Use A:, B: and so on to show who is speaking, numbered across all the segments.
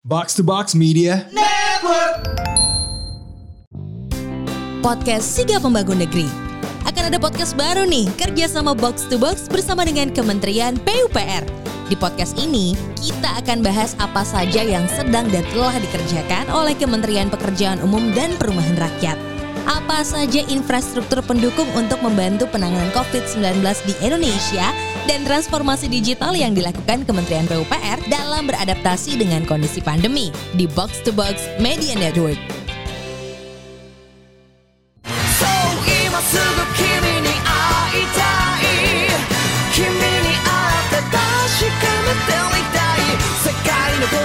A: Box to Box Media.
B: podcast Siga Pembangun Negeri. Akan ada podcast baru nih, kerja sama Box to Box bersama dengan Kementerian PUPR. Di podcast ini, kita akan bahas apa saja yang sedang dan telah dikerjakan oleh Kementerian Pekerjaan Umum dan Perumahan Rakyat. Apa saja infrastruktur pendukung untuk membantu penanganan COVID-19 di Indonesia dan transformasi digital yang dilakukan Kementerian PUPR dalam beradaptasi dengan kondisi pandemi di Box to Box Media Network.
C: そう今すぐ君に会いたい君に会って確かめてみたい世界の断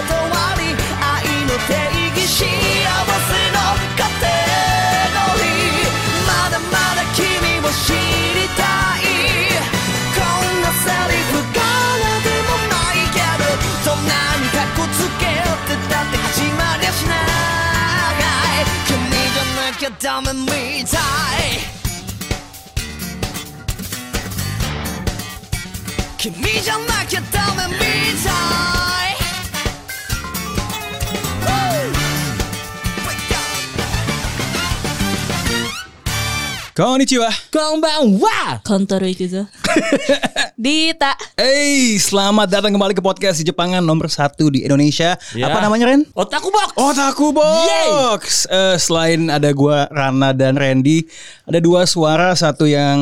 C: り愛の定義幸せのカテゴリーまだまだ君を知りたいこんなセリフからでもないけどそんなにかっこつけてたって始まりゃしない君じゃなきゃダメみたい君じゃなきゃダメみたい Woo! Break down.
A: Konnichiwa.
B: Konbanwa. Kontor itu. Dita.
A: Hey, selamat datang kembali ke podcast di Jepangan nomor satu di Indonesia.
D: Ya.
A: Apa namanya Ren?
D: Otaku Box.
A: Otaku Box. Eh, selain ada gua Rana dan Randy, ada dua suara, satu yang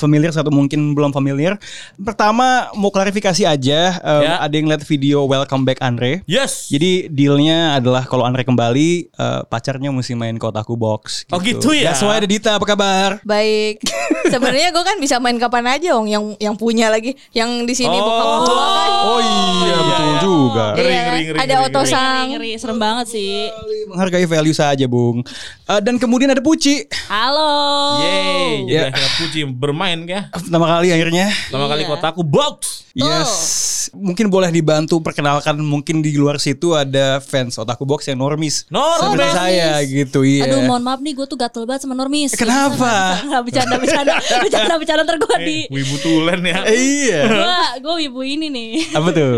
A: familiar, satu mungkin belum familiar. Pertama mau klarifikasi aja, em,
D: Ya.
A: ada yang lihat video Welcome Back Andre.
D: Yes.
A: Jadi dealnya adalah kalau Andre kembali, eh, pacarnya mesti main ke Otaku Box.
D: Oh, gitu ya.
A: That's why ada Dita, apa kabar?
E: Baik. Sebenarnya gue kan bisa main kapan aja, Ong. Yang yang punya lagi, yang di sini buka mertua kan.
A: Oh iya, betul juga.
E: Iya,
D: Ngeri, ngeri, ngeri,
E: ada
D: ngeri,
E: otosang.
B: Ngeri, serem banget sih.
A: menghargai value saja, Bung. Eh, dan kemudian ada Puci.
B: Halo.
D: Yeay, jadi
A: Ya.
D: akhirnya Puji bermain ya.
A: Pertama kali akhirnya.
D: Pertama kali Otaku Box.
A: Yes. Mungkin boleh dibantu perkenalkan mungkin di luar situ ada fans Otaku Box yang normis.
D: Normal.
A: Seperti saya gitu, iya. Eh,
B: Aduh, mohon maaf nih, gue tuh gatel banget sama Normis.
A: Kenapa?
B: Enggak bercanda, bercanda, bercanda, bercanda ntar gue di.
D: Wibu Tulen ya.
A: iya.
B: Gue, gue wibu ini nih,
A: Apa tuh?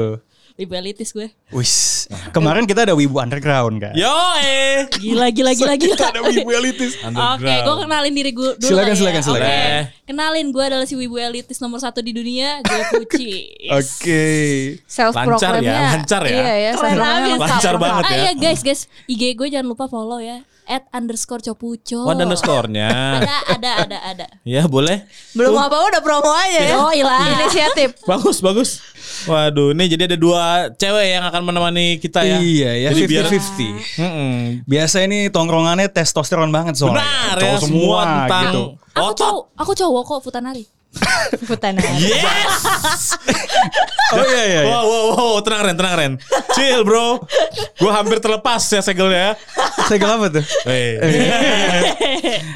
B: wibu elitis gue.
A: Wis. Kemarin kita ada Wibu Underground kan. Iya,
D: Yo eh.
B: Gila, gila, gila, gila.
A: Kita ada Wibu Elitis.
B: Oke, gue kenalin diri gue dulu.
A: Silakan,
B: lah ya.
A: silakan, silakan.
B: Oke.
D: Boleh.
B: Kenalin gue adalah si wibu elitis nomor satu di dunia, gue Puci.
A: Oke.
E: Self
D: Lancar ya, lancar ya.
E: Iya ya,
B: Keren
E: selebgramnya
B: banget.
E: lengkap.
D: Lancar banget
B: Ah
D: ya.
F: gitu.
B: iya guys, guys, IG gue jangan lupa follow ya. At underscore copuco.
D: One underscore-nya.
B: Ada, ada, ada, ada.
D: ya boleh.
E: Belum apa udah promo aja ya.
B: Oh ilah.
E: Inisiatif.
D: Bagus, bagus. Waduh, ini jadi ada dua cewek yang akan menemani kita ya.
A: Iya ya,
D: Jadi biar
A: 50-50.
D: Mm-mm.
A: Biasa ini tongkrongannya testosteron banget soalnya.
D: Benar ya,
A: Cowok
D: semua, tentang
A: gitu.
B: Aku
D: otot.
B: cowok, aku cowok kok Futanari.
E: Futanari.
D: Yes.
A: Oh iya iya. iya.
D: Wow, wow, wow, tenang Ren, tenang Ren. Chill bro. Gue hampir terlepas ya segelnya.
A: Saya apa tuh?
D: Eh.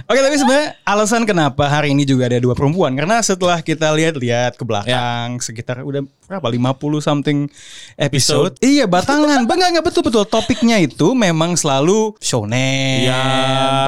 A: Oke tapi sebenarnya alasan kenapa hari ini juga ada dua perempuan karena setelah kita lihat-lihat ke belakang
D: Ya.
A: sekitar udah berapa 50 something episode. Iya batangan. Bang enggak betul betul topiknya itu memang selalu shonen,
D: Iya.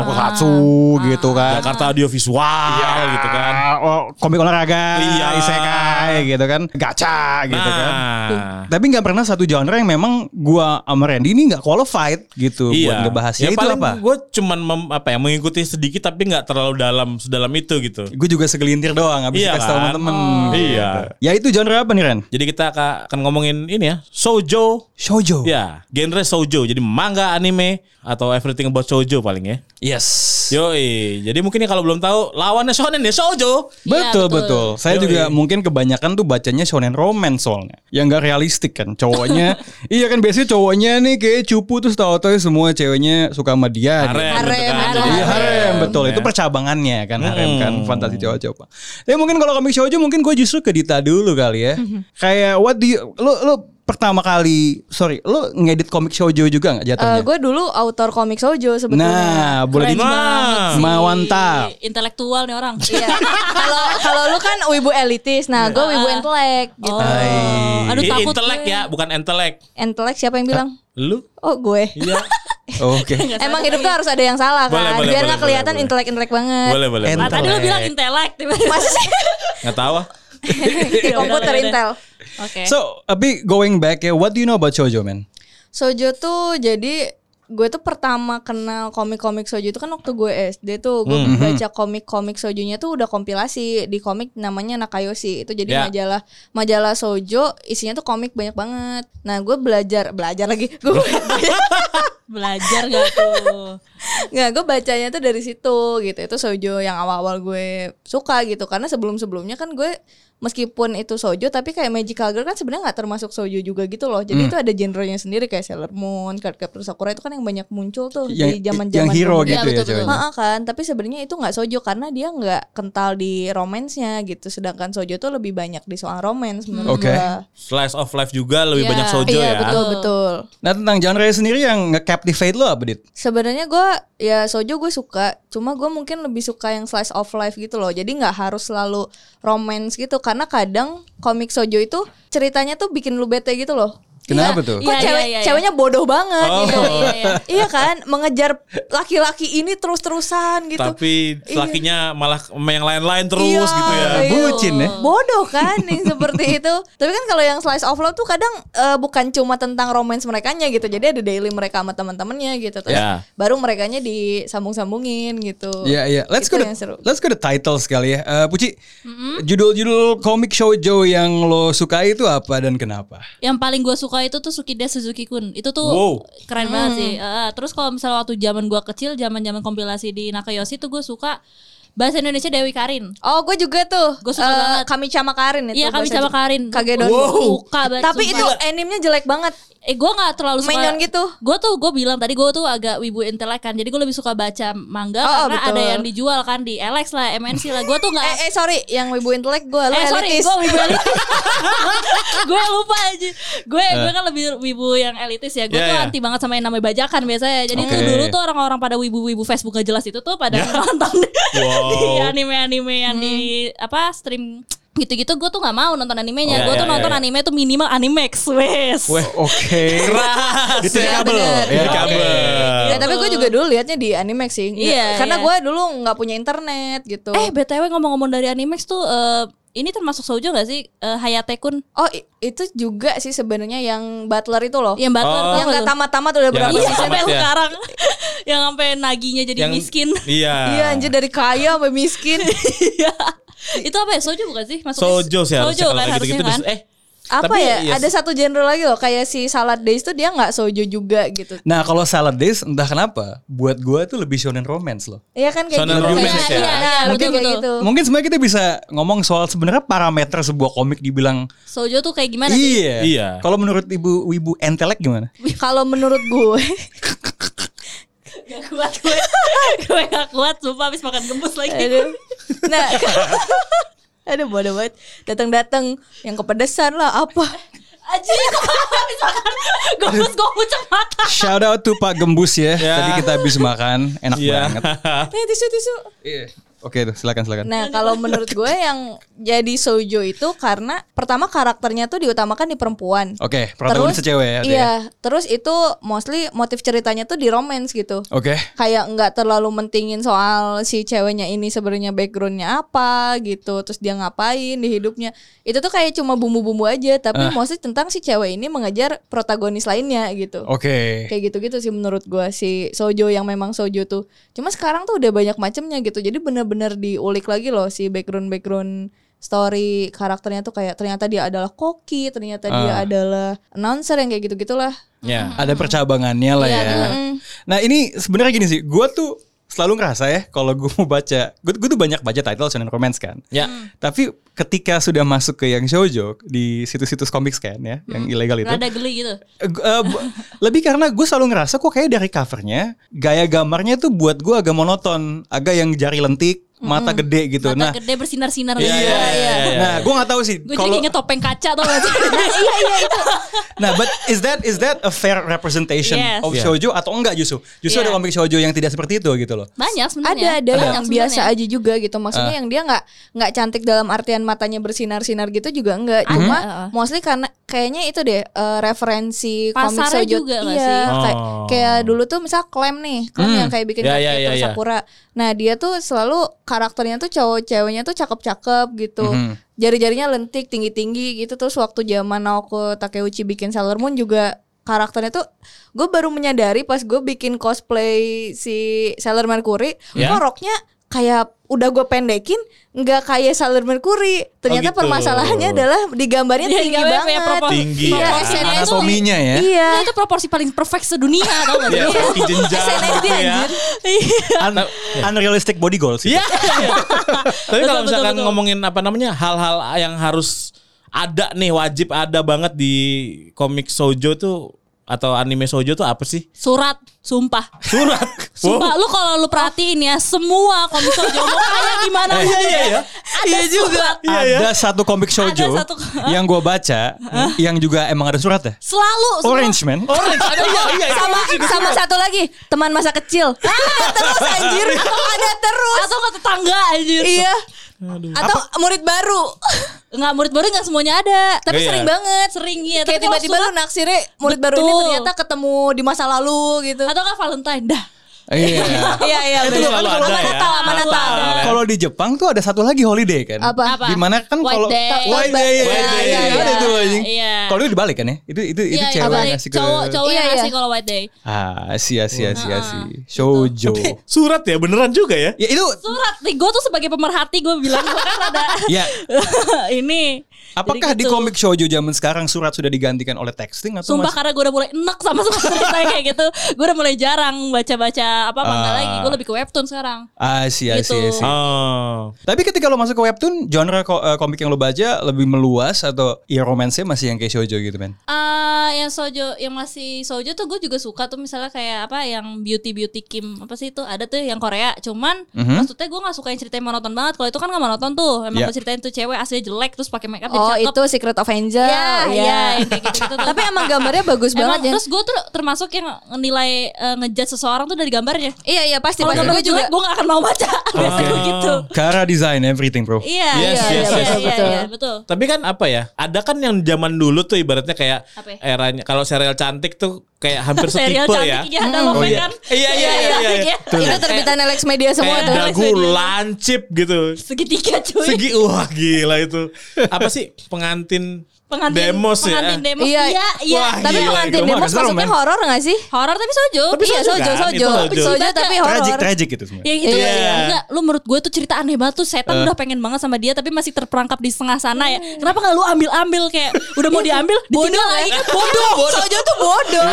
A: tokusatsu gitu kan.
D: ah.
A: Ya,
D: Jakarta audiovisual gitu kan.
A: Oh, komik olahraga,
D: Iya.
A: isekai gitu kan, gacha gitu kan.
D: Nah.
A: Tapi nggak pernah satu genre yang memang gua sama Randy ini nggak qualified gitu
D: Iya.
A: buat ngebahasnya itu apa?
D: Gue Ya cuman mem- apa ya mengikuti sedikit tapi nggak terlalu dalam sedalam itu gitu.
A: Gue juga segelintir doang habis
D: Iya
A: dikasih tau
D: kan?
A: temen-temen.
D: Iya.
A: Ya itu genre apa nih Ren?
D: Jadi kita ka- akan ngomongin ini ya shoujo.
A: Shoujo.
D: Ya, genre shoujo. Jadi manga, anime atau everything about shoujo paling ya.
A: Yes.
D: Yoi. Jadi mungkin ya kalau belum tahu lawannya shonen ya shoujo.
A: Betul,
B: Iya, betul.
A: betul Saya
D: Yoi.
A: juga mungkin kebanyakan tuh bacanya shonen romance soalnya. Yang gak realistik kan cowoknya. iya kan biasanya cowoknya nih kayak cupu terus tahu-tahu semua ceweknya suka sama dia. Dia-
D: Harem, gitu kan.
E: Harem,
D: Jadi-
A: Iya harem betul
D: Ya. Hmm.
A: itu percabangannya kan harem kan fantasi cowok-cowok. Tapi mungkin kalau komik shoujo mungkin gue justru ke Dita dulu kali ya.
D: Mhm.
A: Kayak what do you, lo lo pertama kali sorry lo ngedit komik shoujo juga nggak jatuhnya?
E: Eh,
D: Eh,
E: gue dulu autor komik Sojo sebetulnya.
A: nah boleh
B: Keren
A: di-
B: banget sih.
A: Mawantap.
B: Intelektual nih orang.
E: Iya. Kalau kalau lu kan wibu elitis, nah gue wibu intelek gitu.
B: Oh. Aduh
D: Ini
B: takut
D: intelek
B: gue.
D: ya, bukan entelek.
E: Intelek siapa yang bilang?
D: Lu?
E: Oh gue.
D: Iya.
A: Oke.
E: Emang hidup tuh harus ada yang salah kan,
D: Boleh, boleh,
E: biar
D: boleh,
E: nggak kelihatan
D: boleh, boleh.
E: intelek-intelek banget.
D: boleh, boleh.
F: Nah,
A: Ent-
B: Lah, tadi lu
A: Intelek.
B: bilang intelek.
E: Masa sih?
D: Nggak tahu ah.
E: Di komputer Intel.
B: Oke.
A: So, tapi going back ya, what do you know about shoujo man?
E: Sojo tuh jadi gue tuh pertama kenal komik-komik Sojo itu kan waktu gue SD tuh gue
D: Hmm.
E: baca komik-komik Sojonya tuh udah kompilasi di komik namanya Nakayoshi itu
D: Ya.
E: jadi majalah majalah Sojo isinya tuh komik banyak banget. Nah gue belajar belajar lagi gue
F: Belajar gak tuh?
E: nggak gue bacanya tuh dari situ gitu itu sojo yang awal-awal gue suka gitu karena sebelum-sebelumnya kan gue meskipun itu sojo tapi kayak magical girl kan sebenarnya nggak termasuk sojo juga gitu
A: Hmm.
E: loh jadi itu ada genrenya sendiri kayak Sailor Moon, Cardcaptor Sakura itu kan yang banyak muncul tuh
A: Yang-
E: di zaman-zaman
A: yang hero
E: kemudian.
F: Iya,
A: gitu ya, ceweknya.
E: Ha-ha kan tapi sebenarnya itu nggak sojo karena dia nggak kental di romansnya gitu sedangkan sojo tuh lebih banyak di soal romans menurut
A: Oke.
E: gue.
D: Slice of life juga lebih
F: Iya,
D: banyak sojo
E: iya
D: ya.
E: betul betul
A: Nah tentang genre sendiri yang nge-captivate lo apa Dit?
E: Sebenarnya gue ya sojo gue suka, cuma gue mungkin lebih suka yang slice of life gitu loh. Jadi nggak harus selalu romance gitu, karena kadang komik sojo itu ceritanya tuh bikin lu bete gitu loh.
A: Kenapa
E: Iya,
A: tuh?
E: Kok
F: Iya, iya,
E: cewek,
F: iya, iya.
E: ceweknya bodoh banget
D: Oh.
E: gitu.
D: Iya,
F: iya, iya.
E: iya kan, mengejar laki-laki ini terus-terusan gitu.
D: Tapi
E: Iya.
D: lakinya malah sama yang lain-lain terus
E: Iya,
D: gitu ya.
E: iya.
A: Bucin ya?
E: bodoh kan yang seperti itu tapi kan kalau yang slice of life tuh kadang eh, bukan cuma tentang romance merekanya gitu jadi ada daily mereka sama teman-temannya gitu terus
D: Ya.
E: baru merekanya disambung-sambungin gitu
A: Iya iya, let's go
E: Itu
A: to,
E: yang seru.
A: let's go to titles kali ya. Eh, Puci, judul-judul komik shoujo yang lo sukai itu apa dan kenapa?
F: Yang paling gue suka itu tuh Sukide Suzuki Kun. Itu tuh
D: Wow.
F: keren banget
E: Hmm.
F: sih. Eh, terus kalau misalnya waktu zaman gue kecil, zaman zaman kompilasi di Nakayoshi tuh gue suka bahasa Indonesia Dewi Karin.
E: oh gue juga tuh
F: Gua suka
E: Eh,
F: banget.
E: kami cama karin itu
F: Iya kami
E: bahasa
F: sama Karin.
E: Kagedon.
F: Gua
E: Wow.
F: Suka banget.
E: tapi
F: sumpah.
E: itu animenya jelek banget
F: eh gue nggak terlalu suka
E: Mainan gitu.
F: Gue tuh gue bilang tadi gue tuh agak wibu intelek kan. Jadi gue lebih suka baca manga
E: Oh, oh,
F: karena
E: betul.
F: ada yang dijual kan di LX lah, MNC lah. Gue tuh nggak.
E: eh eh sorry yang wibu intelek gue
F: Eh sorry, gue wibu elitis. gue lupa aja. Gue gue kan lebih wibu yang elitis ya. Gue
D: Iya,
F: tuh
D: iya.
F: anti banget sama yang namanya bajakan biasanya. Jadi tuh
A: Oke.
F: dulu tuh orang-orang pada wibu-wibu Facebook gak jelas itu tuh pada nonton di
D: Wow.
F: anime-anime yang di
E: Hmm.
F: apa stream gitu-gitu gue tuh nggak mau nonton animenya
D: Iya,
F: gue
D: iya,
F: tuh
D: iya,
F: nonton
D: iya.
F: anime tuh minimal animax ya, wes
A: Weh, oke.
D: Keras.
A: Itu
D: ya.
A: kabel.
E: bener.
A: Ya.
D: Di kabel.
E: Ya, tapi gue juga dulu liatnya di anime sih Nggak-
F: Iya,
E: karena
F: iya.
E: gue dulu nggak punya internet gitu
F: eh btw ngomong-ngomong dari animax tuh eh, ini termasuk Sojo gak sih Eh, Hayate Kun
E: Oh i- itu juga sih sebenarnya yang Butler itu loh.
F: yang Butler
D: Oh.
F: tau
E: Yang
F: gak
E: nggak
F: tuh?
E: tamat-tamat udah
D: Yang
E: berapa
D: nggak
F: Iya
E: season?
F: sampai
D: tamat ya.
F: sekarang yang sampai naginya jadi
D: Yang-
F: miskin.
D: Iya.
E: Iya anjir dari kaya sampai miskin.
F: Iya. itu apa ya? Soju bukan sih? Masuknya
D: Sojo sih harusnya
F: Sojo
D: kalau
F: kan
D: kayak
F: harusnya
D: gitu-gitu.
F: kan.
D: dis- Eh,
E: Apa
D: tapi
E: ya?
D: iya
E: Ada satu genre lagi loh kayak si Salad Days tuh dia nggak sojo juga gitu.
A: Nah kalau Salad Days entah kenapa buat gua tuh lebih shonen romance loh.
E: Iya kan kayak
D: Soalnya
E: gitu.
D: romance ya.
E: Iya, Nah,
F: Iya,
E: mungkin
F: betul,
E: kayak
F: betul.
E: gitu.
A: Mungkin sebenarnya kita bisa ngomong soal sebenarnya parameter sebuah komik dibilang
F: Sojo tuh kayak gimana? sih?
A: iya.
D: Iya.
A: Kalau menurut ibu ibu entelek gimana?
E: Kalau menurut gue,
F: Gak kuat gue. gue gak kuat sumpah habis makan gembus lagi.
E: aduh. Nah, aduh bodoh banget. Datang-datang yang kepedesan lah apa?
F: Aji habis makan gembus gue pucuk mata.
A: Shout out to Pak Gembus ya.
D: Ya.
A: Tadi kita habis makan, enak
D: Iya.
A: banget.
E: Nih tisu-tisu.
A: Iya. Oke, tuh, silakan silakan.
E: Nah, kalau menurut gue yang jadi sojo itu karena pertama karakternya tuh diutamakan di perempuan.
A: Oke, protagonis
E: Terus-
A: cewek ya. berarti
E: Iya,
A: ya?
E: terus itu mostly motif ceritanya tuh di romance gitu.
A: Oke.
E: Kayak nggak terlalu mentingin soal si ceweknya ini sebenarnya backgroundnya apa gitu, terus dia ngapain di hidupnya. Itu tuh kayak cuma bumbu-bumbu aja, tapi
A: Ah.
E: mostly tentang si cewek ini mengejar protagonis lainnya gitu.
A: Oke.
E: Kayak gitu-gitu sih menurut gua si Sojo yang memang Sojo tuh. Cuma sekarang tuh udah banyak macemnya gitu. Jadi bener-bener diulik lagi loh si background-background story karakternya tuh kayak ternyata dia adalah koki, ternyata dia
D: Ah.
E: adalah announcer yang kayak gitu-gitulah.
D: Iya.
A: Ada percabangannya
F: Iya,
A: lah ya. Nah, ini sebenarnya gini sih. Gua tuh selalu ngerasa ya kalau gue mau baca, gue, tuh banyak baca title shonen romance kan.
D: Ya.
A: Tapi ketika sudah masuk ke yang shoujo di situs-situs komik kan ya,
F: Mm.
A: yang ilegal itu.
F: Rada geli gitu.
A: Eh, gu- eh, bu- lebih karena gue selalu ngerasa kok kayak dari covernya gaya gambarnya tuh buat gue agak monoton agak yang jari lentik mata gede gitu
F: Mata
A: nah
F: gede bersinar-sinar
D: Iya,
F: gitu.
D: iya, iya, iya.
A: nah gue nggak tahu sih
F: Gue jadi
A: kalau
F: inget topeng kaca tau gak sih? iya iya itu.
A: nah but is that is that a fair representation
F: Yes.
A: of
D: Yeah.
A: shoujo atau enggak justru justru
F: Yeah.
A: ada komik shoujo yang tidak seperti itu gitu loh
F: Banyak sebenarnya.
E: Ada ada yang biasa
F: aja
E: aja juga gitu.
D: Ah.
E: Maksudnya yang dia nggak nggak cantik dalam artian matanya bersinar-sinar gitu juga enggak. Cuma
F: heeh.
E: mostly karena kayaknya itu deh eh, referensi komik
F: Pasarnya
E: Sojo.
F: juga nggak
E: iya,
F: sih?
E: kayak,
D: Oh.
E: kayak dulu tuh misal Clem nih, Clem yang kayak bikin
D: Ya, ya,
E: yeah,
D: ya, ya.
E: Sakura. Nah, dia tuh selalu karakternya tuh cowok-ceweknya tuh cakep-cakep gitu.
D: Mhm.
E: Jari-jarinya lentik, tinggi-tinggi gitu. Terus waktu zaman Naoko Takeuchi bikin Sailor Moon juga karakternya tuh gue baru menyadari pas gue bikin cosplay si Sailor Mercury
D: Ya.
E: kok roknya kayak udah gue pendekin nggak kayak Sailor Mercury ternyata
D: gitu.
E: permasalahannya adalah di gambarnya
F: Dia
E: tinggi
F: Iya, gambarnya
E: banget
F: punya proporsi-
D: Tinggi.
E: Iya,
F: proporsi
E: SNM.
F: itu-
A: Anatominya ya.
E: iya
F: Nah, itu proporsi paling perfect sedunia tau Iya. gak
D: Ya,
F: sih?
D: kaki jenjang
F: SNSD
D: gitu ya.
F: anjir.
A: Un- unrealistic body goals. gitu. itu.
D: Iya. Tapi kalau
F: Betul,
D: misalkan
F: betul, betul.
D: ngomongin apa namanya hal-hal yang harus ada nih wajib ada banget di komik sojo tuh atau anime sojo tuh apa sih?
F: Surat, sumpah.
D: Surat.
F: Sumpah lu kalau lu perhatiin ya semua komik sojo mau kayak gimana
D: Iya, iya, iya.
F: Ada juga.
A: Ada satu komik shoujo
F: Ada satu-
A: yang gue baca, yang juga emang ada surat ya.
F: Selalu
D: Oh,
F: semua.
A: Orange man.
F: Oh.
D: Orange. Ada iya, iya.
E: sama sama satu lagi teman masa kecil ada terus anjir ada terus
F: atau nggak tetangga anjir.
E: iya atau murid baru
F: Nggak murid baru nggak semuanya ada.
E: tapi
D: Iya.
E: sering banget
F: sering ya.
E: kayak
F: kalau
E: tiba-tiba lu
F: surat-
E: naksirnya murid baru ini
F: Betul.
E: ternyata ketemu di masa lalu gitu
F: atau nggak Valentine dah.
A: Iya.
E: iya iya
D: Itu
E: bener.
D: selalu ada ya. iya.
E: Natal, sama
F: Selalu
E: Natal.
F: ada.
A: Kalau di Jepang tuh ada satu lagi holiday kan.
E: Apa?
F: Apa?
A: Dimana kan
F: White
A: kalau
F: Day.
A: White Day, ya,
D: White Day,
A: ya,
D: iya,
A: ada
F: iya.
A: tuh anjing.
F: Iya.
A: Kalau itu dibalik kan ya? Itu itu itu
F: Iya,
A: cewek
F: iya,
A: ngasih ke
F: cowok cowok
E: Iya,
F: yang
E: iya.
F: ngasih kalau white day.
A: Ah, sia sia sia sia. Shoujo.
D: Surat ya beneran juga ya?
A: Ya itu
F: Surat nih gue tuh sebagai pemerhati gue bilang gue kan ada
A: ya
F: ini.
A: apakah
F: Jadi
A: di
F: gitu.
A: komik shoujo zaman sekarang surat sudah digantikan oleh texting atau
F: Sumpah
A: masih
F: karena gue udah mulai enek sama sama cerita kayak gitu. Gue udah mulai jarang baca-baca apa manga
A: Ah.
F: lagi. Gue lebih ke webtoon sekarang.
A: Ah, sia
F: Gitu.
A: sia sia.
D: Oh.
A: Tapi ketika lo masuk ke webtoon, genre ko- eh, komik yang lo baca lebih meluas atau ya romance-nya masih yang kayak shoujo gitu, men?
F: Eh yang sojo yang masih sojo tuh gue juga suka tuh misalnya kayak apa yang beauty beauty Kim apa sih itu ada tuh yang Korea cuman
A: Mhm.
F: maksudnya gue nggak suka yang cerita yang monoton banget kalau itu kan nggak monoton tuh emang
A: Ya.
F: ceritain tuh cewek asli jelek terus pakai makeup
E: oh
F: jadi cakep
E: itu Secret of Angel
F: ya
E: Iya.
F: ya yang kayak gitu-gitu tuh.
E: tapi emang gambarnya bagus
F: Emang,
E: banget ya
F: terus gue tuh termasuk yang nilai eh, ngejudge seseorang tuh dari gambarnya
E: iya iya pasti
F: kalau
E: pasti
F: gambarnya
E: gue juga
F: jelek gue gak akan mau baca biasanya
D: Oke.
F: gitu
A: Kara design everything, bro.
F: Iya,
D: Yes,
F: iya,
D: yes,
F: iya,
D: yes.
F: iya,
E: Betul.
F: iya, betul.
D: Tapi kan apa ya? Ada kan yang zaman dulu tuh ibaratnya kayak
F: Apa ya?
D: eranya kalau serial cantik tuh kayak hampir
F: Serial
D: setipe ya.
F: cantik ya, ada
A: Oh,
F: Lopen
A: iya.
F: kan?
D: Iya, iya, iya, iya, iya.
E: itu terbitan Alex Media semua
D: Kayak
E: tuh
F: Alex
D: dagu
F: Media.
D: lancip gitu.
F: Iya. Segitiga cuy.
D: Segi wah gila itu. Apa sih pengantin
F: pengantin
D: demos ya?
F: pengantin demos.
E: Iya.
F: Iya, iya.
D: Wah,
E: tapi
D: Gila,
E: pengantin
A: itu mah
E: demos
A: serem,
E: maksudnya
A: men.
E: horor gak sih
F: Horor tapi sojo.
E: iya sojo
D: kan?
E: sojo
D: Itu sojo.
E: sojo tapi horor
A: Tragic tragic gitu semua.
F: Ya itu
D: Iya.
F: iya. enggak, lu menurut gue tuh cerita aneh banget tuh setan udah pengen banget sama dia tapi masih terperangkap di setengah sana ya.
E: Hmm.
F: Kenapa gak lu ambil-ambil kayak udah mau diambil ditinggal
E: ya.
F: lagi kan bodoh.
E: sojo tuh bodoh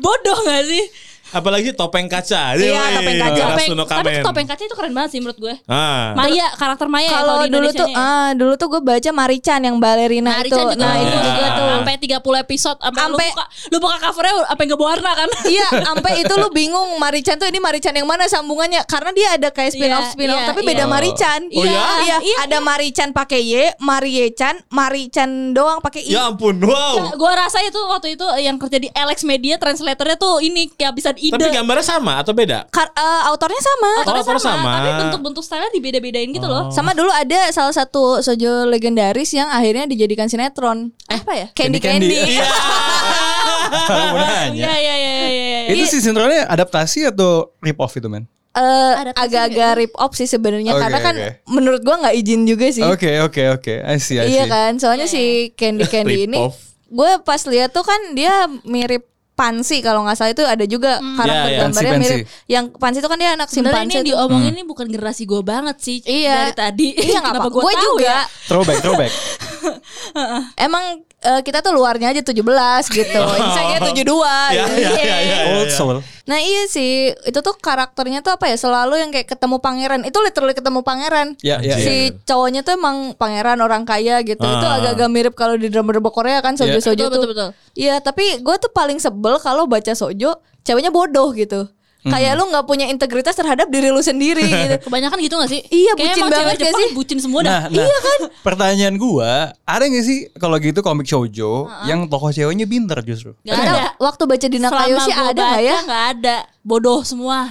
F: bodoh gak sih?
D: Apalagi topeng kaca.
E: Iya,
D: Yoi,
E: topeng kaca.
F: Topeng,
D: Karasuno
F: tapi
D: Kamen.
F: topeng kaca itu keren banget sih menurut gue.
D: Ah.
F: Maya, karakter Maya ya
E: kalau
F: di
E: dulu
F: Indonesianya
E: tuh
F: ya.
E: ah dulu tuh gue baca Marichan yang balerina
F: Nah,
E: itu
F: Richard juga
E: nah
F: bagus
E: itu juga
F: juga
E: tuh
F: tuh sampai 30 episode sampai lu
E: Sampai-
F: buka lu buka covernya apa yang warna kan.
E: Iya, sampai itu lu bingung Marichan tuh ini Marichan yang mana sambungannya? Karena dia ada kayak spin-off
F: Iya,
E: spin-off
F: iya,
E: tapi
F: iya.
E: beda Marichan.
F: Oh, iya?
E: Iya,
F: Iya,
E: ada Marichan pakai Y, Mariechan, Marichan doang pakai I.
D: Ya ampun, wow.
F: Gue Nah, rasa itu waktu itu yang kerja di Alex Media translatornya tuh ini kehabisan ide.
D: Tapi gambarnya sama atau beda?
E: Kar- eh, autornya sama.
F: Autornya
D: Oh, autornya
F: sama,
D: sama.
F: tapi bentuk-bentuk stylenya dibeda-bedain gitu loh.
E: Sama dulu ada salah satu sojo legendaris yang akhirnya dijadikan sinetron.
F: Apa ya?
E: Candy
A: Candy
E: Candy.
A: Candy. Iya. Baru mau
D: Oh,
A: nanya.
F: Iya iya iya iya. iya.
A: Itu sih sinetronnya adaptasi atau rip off itu, men?
E: Eh,
F: Ada apa sih
E: agak-agak rip off sih sebenarnya
A: Oke,
E: karena kan
A: oke. Oh,
E: menurut gua nggak izin juga sih.
A: Oke, oke, oke. I see, I see.
E: Iya kan, soalnya si Candy Candy ini,
D: Rip off.
E: gue pas lihat tuh kan dia mirip Pansi kalau nggak salah itu ada juga karakter
D: Iya, iya.
E: gambarnya
A: Pansi,
E: mirip. Yang Pansi itu kan dia anak
F: Hmm. Sebenarnya
E: simpanse.
F: ini yang
E: tuh.
F: diomongin ini bukan generasi gue banget sih
E: Iya.
F: dari tadi.
E: Iya nggak apa.
F: Kenapa gua
E: Gue
F: tahu
E: juga.
F: ya?
A: Throwback, throwback.
E: Emang eh, kita tuh luarnya aja 17 gitu. Misalnya
D: Iya,
E: 72. gitu.
D: iya, iya, iya.
A: Old soul.
E: Nah iya sih, itu tuh karakternya tuh apa ya? Selalu yang kayak ketemu pangeran. Itu literally ketemu pangeran.
A: Ya, ya,
E: si
A: ya.
E: cowoknya tuh emang pangeran orang kaya gitu. Itu
D: Ah. Ya.
E: agak-agak mirip kalau di drama-drama Korea kan sojo-sojo
F: Betul,
E: tuh.
F: betul, betul.
E: Iya, tapi gue tuh paling sebel kalau baca sojo ceweknya bodoh gitu.
D: Hmm.
E: Kayak lu nggak punya integritas terhadap diri lu sendiri gitu.
F: Kebanyakan gitu gak sih?
E: Iya,
F: Kayak
E: bucin
F: emang
E: banget
F: cewek
E: gak
F: Jepang
E: sih?
F: Bucin semua dah.
A: Nah, iya kan? Pertanyaan gua, ada gak sih kalau gitu komik shoujo yang tokoh ceweknya pinter justru?
F: Gak ada.
E: Nah, Ada waktu baca Dina
F: Selama
E: Kayoshi
F: gua
E: ada nggak
F: baca,
E: ya?
F: Gak ada. Bodoh semua.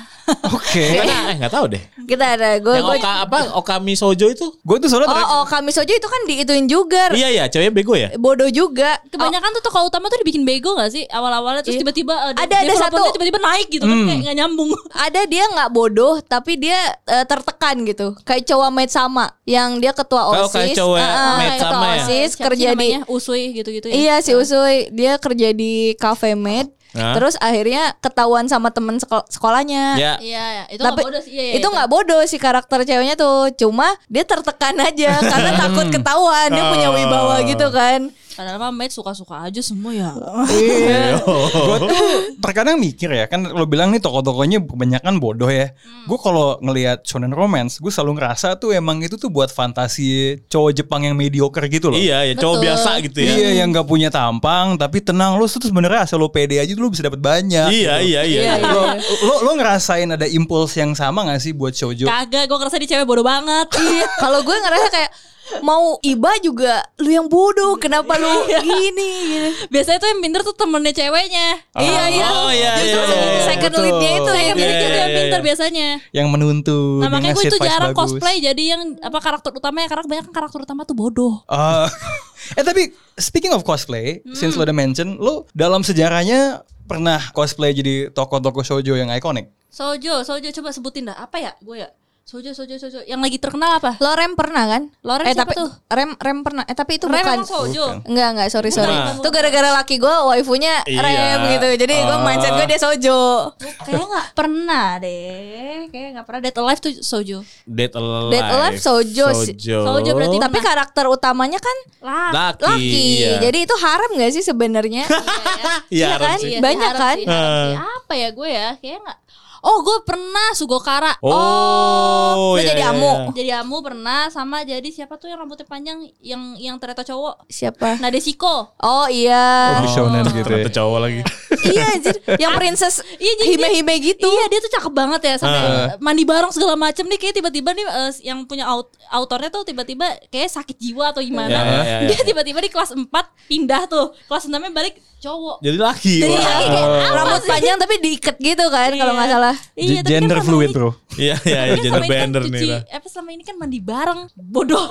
A: Oke.
D: Karena eh nggak tahu deh.
E: Kita ada gue
D: Yang Oka apa Okami Sojo itu?
A: Gue tuh soalnya terakhir-
E: Oh, oh kami sojo itu kan diituin juga.
D: Iya ya, ceweknya bego ya.
E: Bodoh juga.
F: Kebanyakan tuh tokoh utama tuh dibikin bego gak sih awal-awalnya terus
E: Iya.
F: tiba-tiba eh,
E: Ada- ada
F: developernya
E: satu.
F: tiba-tiba naik gitu kan kayak gak nyambung.
E: ada dia nggak bodoh tapi dia eh, tertekan gitu kayak cowok med sama yang dia ketua
D: Oh,
E: osis
D: kayak cowok
E: Heeh,
D: med
E: ketua
D: sama ya?
E: osis
F: Siapa sih
E: kerja di
F: namanya? Usui gitu-gitu ya.
E: iya si usuy dia kerja di cafe med
D: Hah?
E: terus akhirnya ketahuan sama temen sekol- sekolahnya
D: Ah. Ya.
F: Iya, iya. itu
E: tapi
F: nggak bodoh sih. Iya, iya,
E: itu nggak bodoh si karakter ceweknya tuh cuma dia tertekan aja karena
D: Hmm.
E: takut ketahuan dia punya
D: Oh.
E: wibawa gitu kan
F: Padahal mah mate suka-suka aja semua ya.
E: Oh,
D: Iya,
A: Gue tuh terkadang mikir ya kan lo bilang nih tokoh-tokohnya kebanyakan bodoh ya.
F: Hmm.
A: Gue kalau ngelihat shonen romance, gue selalu ngerasa tuh emang itu tuh buat fantasi cowok Jepang yang mediocre gitu loh.
D: Iya ya, cowok
F: Betul.
D: biasa gitu ya.
A: Iya yang gak punya tampang tapi tenang lo tuh sebenarnya asal lo pede aja tuh lo bisa dapat banyak. gitu
D: Iya iya iya.
A: Lo, lo, lo ngerasain ada impuls yang sama gak sih buat shoujo?
F: Kagak, gue ngerasa di cewek bodoh banget.
E: Iya, kalau gue ngerasa kayak mau iba juga lu yang bodoh kenapa lu
F: Iya.
E: gini gitu.
F: Biasanya tuh yang pinter tuh temennya ceweknya.
E: iya iya
D: Oh iya iya.
E: Justru
D: iya, iya.
E: second
A: Betul.
E: leadnya itu
F: Saya
E: yang
F: pinter
E: jadi
F: itu
D: iya,
F: yang
D: iya.
F: pinter biasanya.
A: Yang menuntun.
F: Nah makanya
A: yang
F: gue
A: ngasih
F: itu
A: advice
F: jarang
A: bagus.
F: cosplay jadi yang apa karakter utamanya karena kebanyakan karakter utama tuh bodoh.
A: Ah. eh tapi speaking of cosplay, since lo udah mention, lo dalam sejarahnya pernah cosplay jadi tokoh-tokoh shoujo yang ikonik?
F: Sojo, Sojo coba sebutin dah apa ya gue ya? Sojo, Sojo, Sojo. Yang lagi terkenal apa?
E: lo rem pernah kan
F: Loren
E: eh,
F: siapa
E: tapi
F: tuh?
E: rem rem pernah eh tapi itu
F: Rem
E: bukan
F: emang Sojo.
A: Bukan.
E: Enggak enggak sorry sorry
F: Bukan.
E: Itu gara-gara laki gue waifunya
D: Iya.
E: rem gitu Jadi gue
D: Ah.
E: mindset gue dia sojo
F: Kayaknya nggak pernah deh. Kayaknya nggak pernah. Dead Alive tuh Sojo.
D: Dead Alive.
E: Dead Alive Sojo sih.
D: Sojo.
F: Sojo berarti
E: Tapi karakter utamanya kan
F: Lah.
D: laki.
E: laki
D: iya.
E: Jadi itu haram gak sih sebenarnya
D: iya,
E: iya
D: Ron
E: kan?
D: sih.
F: Iya sih,
E: Banyak
F: harap
E: kan?
F: sih, harap sih. Apa ya gue ya? Kayaknya nggak. Oh gue pernah Sugokara.
D: Oh,
E: lu
D: iya,
E: jadi
D: iya,
E: amu.
D: iya.
F: Jadi Amu pernah sama jadi siapa tuh yang rambutnya panjang yang yang ternyata cowok?
E: Siapa?
F: Nadeshiko.
E: Oh iya
A: Oh, shounen gitu ya.
D: Ternyata cowok lagi.
E: Iya anjir Yang princess
F: Iya, jadi dia-
E: hime-hime gitu
F: Iya dia tuh cakep banget ya sampai mandi bareng segala macem nih kayak tiba-tiba nih eh, yang punya aut autornya tuh tiba-tiba kayak sakit jiwa atau gimana.
D: Iya, iya, iya,
F: Dia tiba-tiba di kelas 4 pindah tuh. Kelas 6-nya balik cowok.
D: Jadi laki.
F: Jadi
D: wah. Oh.
F: laki kayak apa
E: Rambut
F: sih?
E: panjang tapi diikat gitu kan Kalau
F: Iya.
E: gak salah
F: Iya, tapi kan
A: Gender
F: selama
A: fluid
F: ini-
A: bro.
D: Iya iya iya,
F: Kan selama
D: gender
F: ini kan
D: bender nih
F: cuci-
D: lah.
F: Apa selama ini kan mandi bareng bodoh.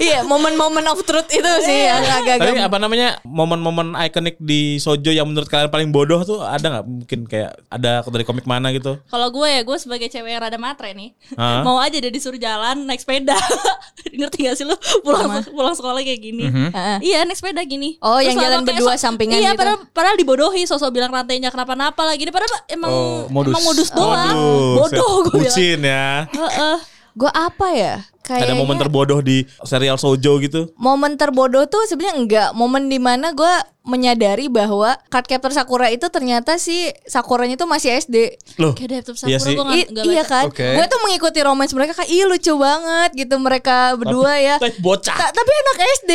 E: Iya momen-momen of truth itu sih yang
D: Tapi
E: agak-agak
D: apa namanya momen-momen ikonik di Sojo yang menurut kalian paling bodoh tuh ada nggak mungkin kayak ada dari komik mana gitu?
F: Kalau gue ya gue sebagai cewek yang rada matre nih,
D: Hah?
F: mau aja dia disuruh jalan naik sepeda. Ngerti gak sih lu pulang pulang sekolah kayak gini?
A: Mm-hmm.
E: Heeh.
F: Iya naik sepeda gini.
E: Oh, yang
F: lama
E: jalan
F: kayak
E: berdua sampingan
F: Iya
E: gitu.
F: padahal, padahal dibodohi sosok bilang rantainya kenapa-napa lagi. Padahal emang
A: Oh, modus.
F: emang modus doang.
D: Modus.
F: Bodoh gue bilang.
D: Bucin ya.
F: Heeh.
E: Gue apa ya
D: Ada
E: Kayaknya
D: momen terbodoh di serial Sojo gitu.
E: momen terbodoh tuh sebenarnya enggak momen dimana gue menyadari bahwa card Captor Sakura itu ternyata si Sakuranya tuh masih SD
D: Loh.
F: Kayak Detektif
D: Iya
F: Sakura
D: sih.
F: gue
E: I-
F: gak,
E: iya kan
A: Oke.
E: gue tuh mengikuti romance mereka kayak ih lucu banget gitu mereka berdua ya
D: Teh Eh, bocah.
E: Ta- tapi anak SD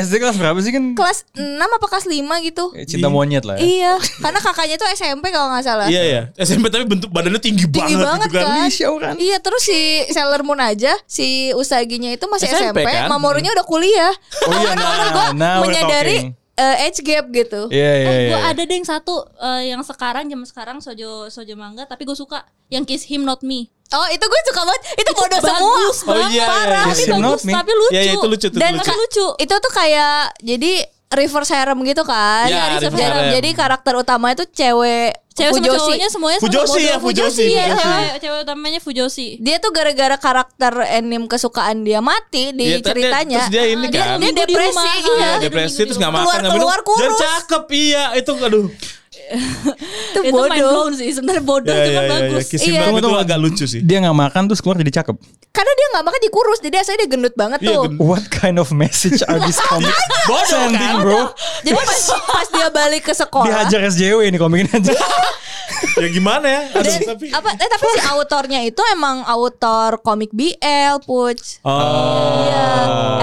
A: SD kelas berapa sih kan?
E: kelas 6 apa kelas 5 gitu
A: Eh, Cinta monyet lah ya.
E: iya karena kakaknya tuh SMP kalau nggak salah
D: Iya ya. SMP tapi bentuk badannya tinggi,
E: tinggi
D: banget,
E: banget
D: gitu kan.
E: kan.
A: Ih, Shauran.
E: Iya, terus si Sailor Moon aja, si Usaginya itu masih
D: SMP,
E: SMP,
D: kan?
E: Mamorunya udah kuliah.
A: Oh iya,
E: Karena
A: nah,
E: gue
A: now we're
E: menyadari
A: talking.
E: eh, age gap gitu.
A: Iya iya
F: Eh, gue
A: iya.
F: ada deh yang satu eh, yang sekarang jam sekarang sojo sojo mangga tapi gue suka yang kiss him not me
E: Oh, itu gue suka banget. Itu bodoh
F: bagus
E: semua.
F: banget,
D: Oh, iya,
F: parah
D: iya,
F: tapi
A: Kiss him not
F: bagus
A: me.
F: tapi lucu
D: Iya, iya, itu lucu tuh.
E: Dan
D: lucu.
E: ka-
F: lucu.
E: Itu tuh kayak jadi reverse harem gitu kan.
D: Iya,
E: Jadi
D: reverse
E: harem.
D: harem.
E: Jadi karakter utama itu cewek
F: cewek sama
E: Fujoshi.
F: cowoknya semuanya sama
D: Fujoshi
F: bodoh.
D: ya, Fujoshi,
F: iya
D: Fujoshi.
F: cewek cewek utamanya Fujoshi
E: Dia tuh gara-gara karakter anime kesukaan dia mati di
D: Iya, tadi-
E: ceritanya.
D: terus dia ini
E: dia,
D: kan.
E: dia
F: Minggu di
E: depresi.
F: rumah.
E: iya.
D: Iya,
F: Ada
D: depresi
F: minggu
D: terus
F: di
D: nggak
E: rumah.
D: makan nggak
E: Keluar- keluar
D: Dan
E: kurus.
D: cakep iya itu aduh.
E: Itu
F: itu mind
E: bodoh.
F: blown sih sebenarnya bodoh
D: Iya,
F: cuman
D: iya, iya,
F: bagus
D: Kiss him
E: Iya.
D: not me itu
A: Tunggu, tunggu.
D: agak lucu sih.
A: Dia nggak makan terus keluar jadi cakep.
E: Karena dia nggak makan dia kurus, jadi asalnya dia gendut banget
D: Iya,
E: tuh.
D: gendut.
A: What kind of message are these comics
D: Bodoh,
A: sending
D: kan?
A: bro?
E: Jadi pas, pas dia balik ke sekolah
A: Dihajar SJW ini komik ini aja.
D: ya gimana ya? Aduh,
E: dan-
D: tapi
E: apa eh, tapi si autornya itu emang autor komik BL Puch.
D: Oh.
E: Iya.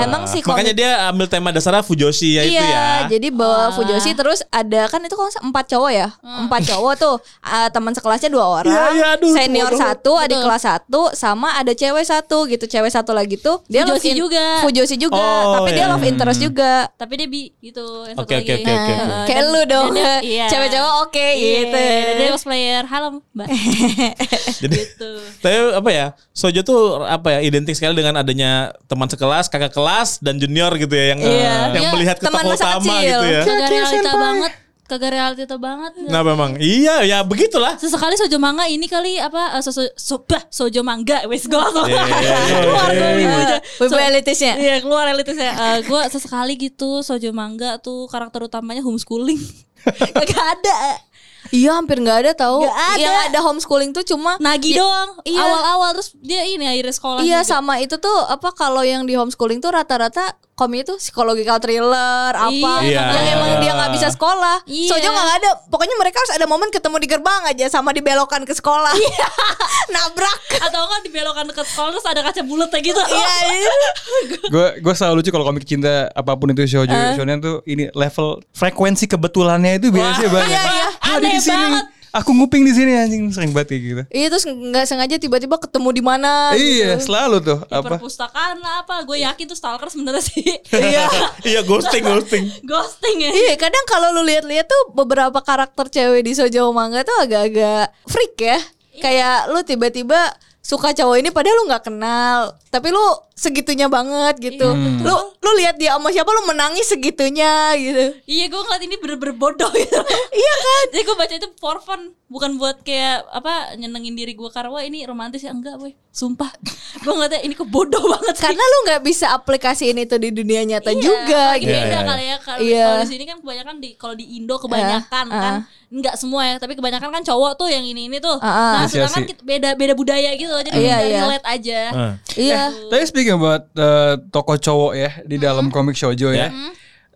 E: Emang si komik
D: Makanya dia ambil tema dasarnya Fujoshi ya itu ya.
E: Iya, jadi
F: Ah.
E: bawa Fujoshi terus ada kan itu kalau nggak salah empat cowok ya,
F: Hmm.
E: empat cowok tuh ah, teman sekelasnya dua orang,
D: Iya, iya, aduh,
E: senior
D: bodoh.
E: satu, adik kelas satu, sama ada cewek satu gitu, cewek satu lagi tuh dia
F: Fujoshi
E: in-
F: juga.
E: Fujoshi juga,
D: Oh,
E: tapi dia
D: iya.
E: love interest juga.
F: tapi dia bi gitu yang satu
D: Oke, oke,
F: lagi. Nah,
D: oke, oke, oke.
E: Kayak
F: Eh, dan-
E: lu dong,
F: dan dia- iya.
E: cewek-cewek oh, oke
F: Iya,
E: gitu.
F: dan dia pas cosplayer. Halo, Mbak. Gitu.
D: Jadi
F: Tuh.
D: tapi apa ya? Sojo tuh apa ya identik sekali dengan adanya teman sekelas, kakak kelas dan junior gitu ya yang yang
E: Iya,
D: melihat ke
E: teman
D: tokoh
E: masa
D: utama
E: kecil.
D: gitu ya.
F: Kagak realita banget. Kagak realita banget.
D: Nah, memang. Iya, ya begitulah.
F: Sesekali sojo manga ini kali apa eh, so, so, so- bah, sojo mangga wes gue langsung
D: Iya, iya, iya.
F: keluar gue bibirnya. So-
E: Wibu elitisnya.
F: Iya keluar elitisnya. Eh, gue sesekali gitu sojo mangga tuh karakter utamanya homeschooling. Gak ada.
E: Iya hampir nggak ada tahu.
F: Nggak ada.
E: Yang Iya, ada homeschooling tuh cuma
F: Nagi gitu.
E: Ya,
F: doang.
E: iya.
F: Awal-awal terus dia ini akhirnya sekolah.
E: Iya
F: juga.
E: sama itu tuh apa kalau yang di homeschooling tuh rata-rata komik itu psychological thriller apa
D: Iya.
E: yang emang dia nggak bisa sekolah.
F: Iya.
E: Soalnya nggak ada. Pokoknya mereka harus ada momen ketemu di gerbang aja sama dibelokan ke sekolah. Nabrak.
F: Atau kan dibelokan ke sekolah terus ada kaca bulat kayak gitu.
E: Iya.
A: gue gue selalu lucu kalau komik cinta apapun itu shoujo
F: Eh.
A: shonen tuh ini level frekuensi kebetulannya itu biasanya banyak.
E: iya, iya.
A: Ah, dia
F: Aneh
A: di sini.
F: banget.
A: Aku nguping di sini anjing sering banget kayak gitu.
E: Iya terus nggak sengaja tiba-tiba ketemu di mana. gitu.
A: Iya, selalu tuh
F: Di
A: apa?
F: Oh, perpustakaan lah apa. Gue yakin tuh stalker sebenarnya sih.
D: iya, ghosting, ghosting.
F: Ghosting ya.
E: Iya kadang kalau lu lihat-lihat tuh beberapa karakter cewek di Sojo Manga tuh agak-agak freak ya. Kayak lu tiba-tiba suka cowok ini padahal lu nggak kenal, tapi lu segitunya banget gitu. Lu lu lihat dia sama siapa lu menangis segitunya gitu.
F: Iya gue ngeliat ini bener-bener bodoh gitu
E: Iya kan?
F: Jadi gue baca itu for fun Bukan buat kayak apa nyenengin diri gue Karena wah ini romantis ya Enggak boy Sumpah Gue ngeliatnya ini kok bodoh banget sih.
E: Karena lu nggak bisa aplikasiin itu di dunia nyata juga
F: apalagi
E: gitu.
F: beda kali ya kalau
E: Iya.
F: kalau di sini kan kebanyakan di kalau di Indo kebanyakan
E: Eh,
F: kan
E: eh.
F: nggak semua ya tapi kebanyakan kan cowok tuh yang ini ini tuh
E: Eh, eh.
F: nah
A: Iya
F: sedangkan
A: sih. Ah.
F: kita beda beda budaya gitu loh, jadi
E: Iya,
F: kita
E: iya.
F: relate aja
D: Eh.
E: Iya.
A: Tapi speaking about uh, tokoh cowok ya di
F: Mm-hmm.
A: dalam komik shoujo ya.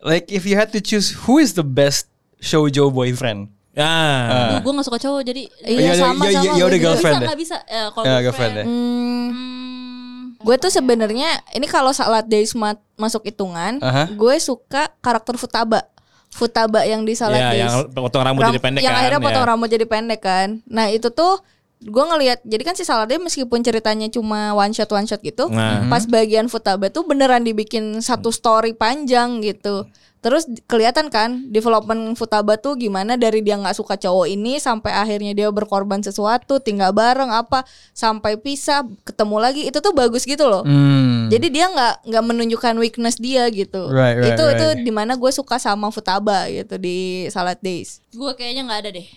A: Like if you had to choose who is the best shoujo boyfriend?
D: Ah.
F: Aduh, gue gak suka cowok jadi
A: Iya, iya, iya, iya, iya, udah
F: Nggak
A: girlfriend
F: bisa
A: deh.
F: nggak bisa Eh, kalau
A: Ya,
F: girlfriend
A: girlfriend ya.
E: Hmm,
F: Hmm,
E: gue tuh sebenarnya ini kalau salat days ma- masuk hitungan,
A: Aha.
E: gue suka karakter Futaba. Futaba yang di salat
D: Iya,
E: days.
D: yang potong rambut jadi
E: Ram-
D: pendek
E: yang
D: kan.
E: akhirnya
D: ya.
E: potong rambut jadi pendek kan nah itu tuh gue ngelihat jadi kan si Saladin meskipun ceritanya cuma one shot one shot gitu
D: Nah.
E: pas
A: Mm-hmm.
E: bagian Futaba tuh beneran dibikin satu story panjang gitu terus di- kelihatan kan development Futaba tuh gimana dari dia nggak suka cowok ini sampai akhirnya dia berkorban sesuatu tinggal bareng apa sampai pisah ketemu lagi itu tuh bagus gitu loh
A: Hmm.
E: jadi dia nggak nggak menunjukkan weakness dia gitu
A: Right, right,
E: itu itu
A: right.
E: dimana gue suka sama Futaba gitu di Salad Days
F: gue kayaknya nggak ada deh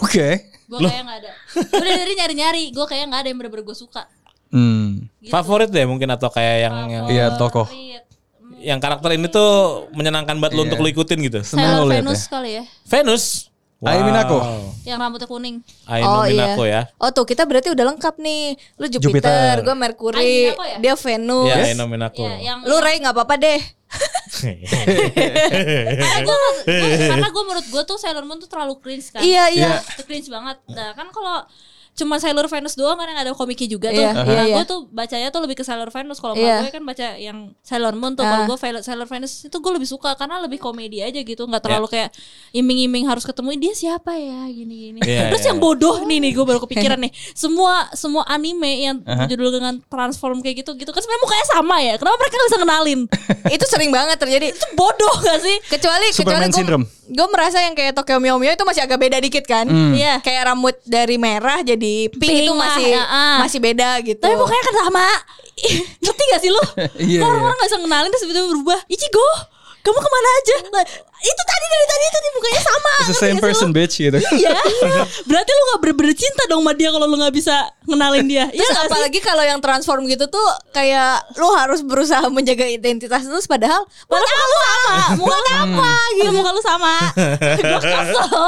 A: Oke.
F: gue kayaknya nggak ada gue dari dari nyari nyari gue kayaknya nggak ada yang bener-bener gue suka
A: Hmm.
E: Gitu.
D: Favorit deh mungkin atau kayak yang yang,
F: Oh.
A: Iya, tokoh.
F: Favorit.
D: yang karakter ini tuh menyenangkan banget lo untuk lo ikutin gitu.
A: Senang
F: Sailor
A: lo liat ya.
F: Venus kali ya
D: Venus.
A: Ai Minako.
F: yang rambutnya kuning
A: Eh,
D: Aino Minako ya.
E: Oh tuh kita berarti udah lengkap nih. Lu
A: Jupiter. Iya.
E: Jupiter, gua gue
F: Ah,
E: Mercury,
F: Minako ya?
E: dia Venus.
D: Ya, Aino Minako.
E: Iya,
F: ya yang
E: Lu Ray nggak apa-apa deh.
F: Gua nggak- gua- karena gue menurut gue tuh Sailor Moon tuh terlalu cringe kan
E: Iya iya.
A: Iya.
F: Itu cringe banget nah kan kalau cuma Sailor Venus doang kan yang ada komiknya juga tuh
E: Iya,
F: nah
E: iya, iya.
F: gue tuh bacanya tuh lebih ke Sailor Venus kalau
E: Iya. Ah.
F: gue kan baca yang Sailor Moon tuh kalau gue Sailor- Sailor Venus itu gue lebih suka karena lebih komedi aja gitu
D: Iya.
F: nggak terlalu kayak iming-iming harus ketemu dia siapa ya gini-gini
D: Iya,
F: terus
D: iya.
F: yang bodoh nih nih gue baru kepikiran nih semua semua anime yang judul dengan transform kayak gitu gitu kan sebenarnya mukanya sama ya kenapa mereka nggak bisa kenalin
E: itu sering banget terjadi.
F: itu bodoh gak sih
E: Kecuali
A: Superman
E: kecuali
A: syndrome.
E: gue gue merasa yang kayak Tokyo Mio Mio itu masih agak beda dikit kan.
A: Hmm.
F: Iya.
E: Kayak rambut dari merah jadi pink,
F: Pink
E: itu
F: lah,
E: masih
F: ya, ah.
E: masih beda gitu.
F: Tapi mukanya kan sama. Ngerti gak sih lu?
A: Iya,
F: Orang-orang gak bisa ngenalin terus tiba-tiba berubah. Ichigo, kamu kemana aja? Nah, itu tadi dari tadi tadi mukanya sama.
A: It's the
F: Ngerti
A: same
F: gak sih lu?
A: person bitch gitu.
F: Iya. Berarti lu gak bener-bener cinta dong sama dia kalau lu gak bisa ngenalin dia. Iya
E: Terus
F: gak sih?
E: apalagi kalau yang transform gitu tuh kayak lu harus berusaha menjaga identitas terus padahal
F: Muka lu sama. Muka lu apa?
A: Hmm.
F: Gitu. Muka lu sama. Gue kesel.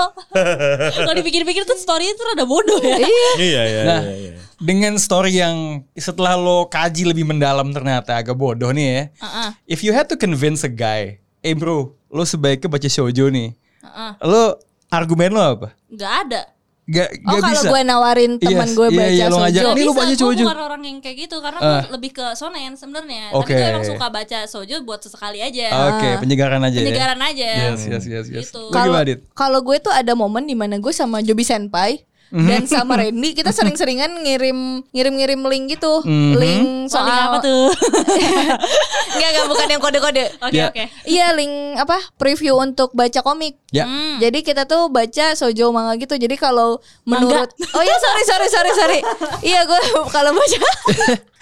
F: Kalau dipikir-pikir tuh story itu rada bodoh ya.
D: Iya iya.
A: Nah,
D: iya, iya.
A: dengan story yang setelah lo kaji lebih mendalam ternyata agak bodoh nih ya.
F: Uh-uh.
A: If you had to convince a guy, eh bro, lo sebaiknya baca shoujo nih.
F: Uh-uh.
A: Lo argumen lo apa?
F: Gak ada.
A: Gak,
E: oh
A: gak
E: kalau
A: bisa.
E: gue nawarin teman
A: Yes,
E: gue
A: iya,
E: baca
A: iya, lu ngajak.
E: shoujo.
A: Ini lu
F: bisa,
A: baca
F: gua
A: shoujo.
F: bukan orang yang kayak gitu karena gua
A: Ah.
F: lebih ke sonen sebenarnya.
A: Oke. Oh,
F: Tapi gue emang suka baca sojo buat sesekali aja.
A: Oke, penyegaran
D: Iya.
A: aja
F: Penyegaran
A: ya.
F: aja.
A: Yes, yes, yes, yes. Lo
F: Gitu.
E: Kalau
A: gimana, Dit?
E: kalau gue tuh ada momen di mana gue sama Joby Senpai dan sama Randy kita sering-seringan ngirim ngirim-ngirim link gitu, link soal
F: Soalnya apa tuh?
E: Enggak, enggak bukan yang kode-kode.
F: Oke
A: Ya.
F: oke.
E: Iya, link apa? Preview untuk baca komik.
A: Ya.
E: Jadi kita tuh baca sojo manga gitu. Jadi kalau menurut Oh iya sorry sorry sorry sorry. iya gue kalau baca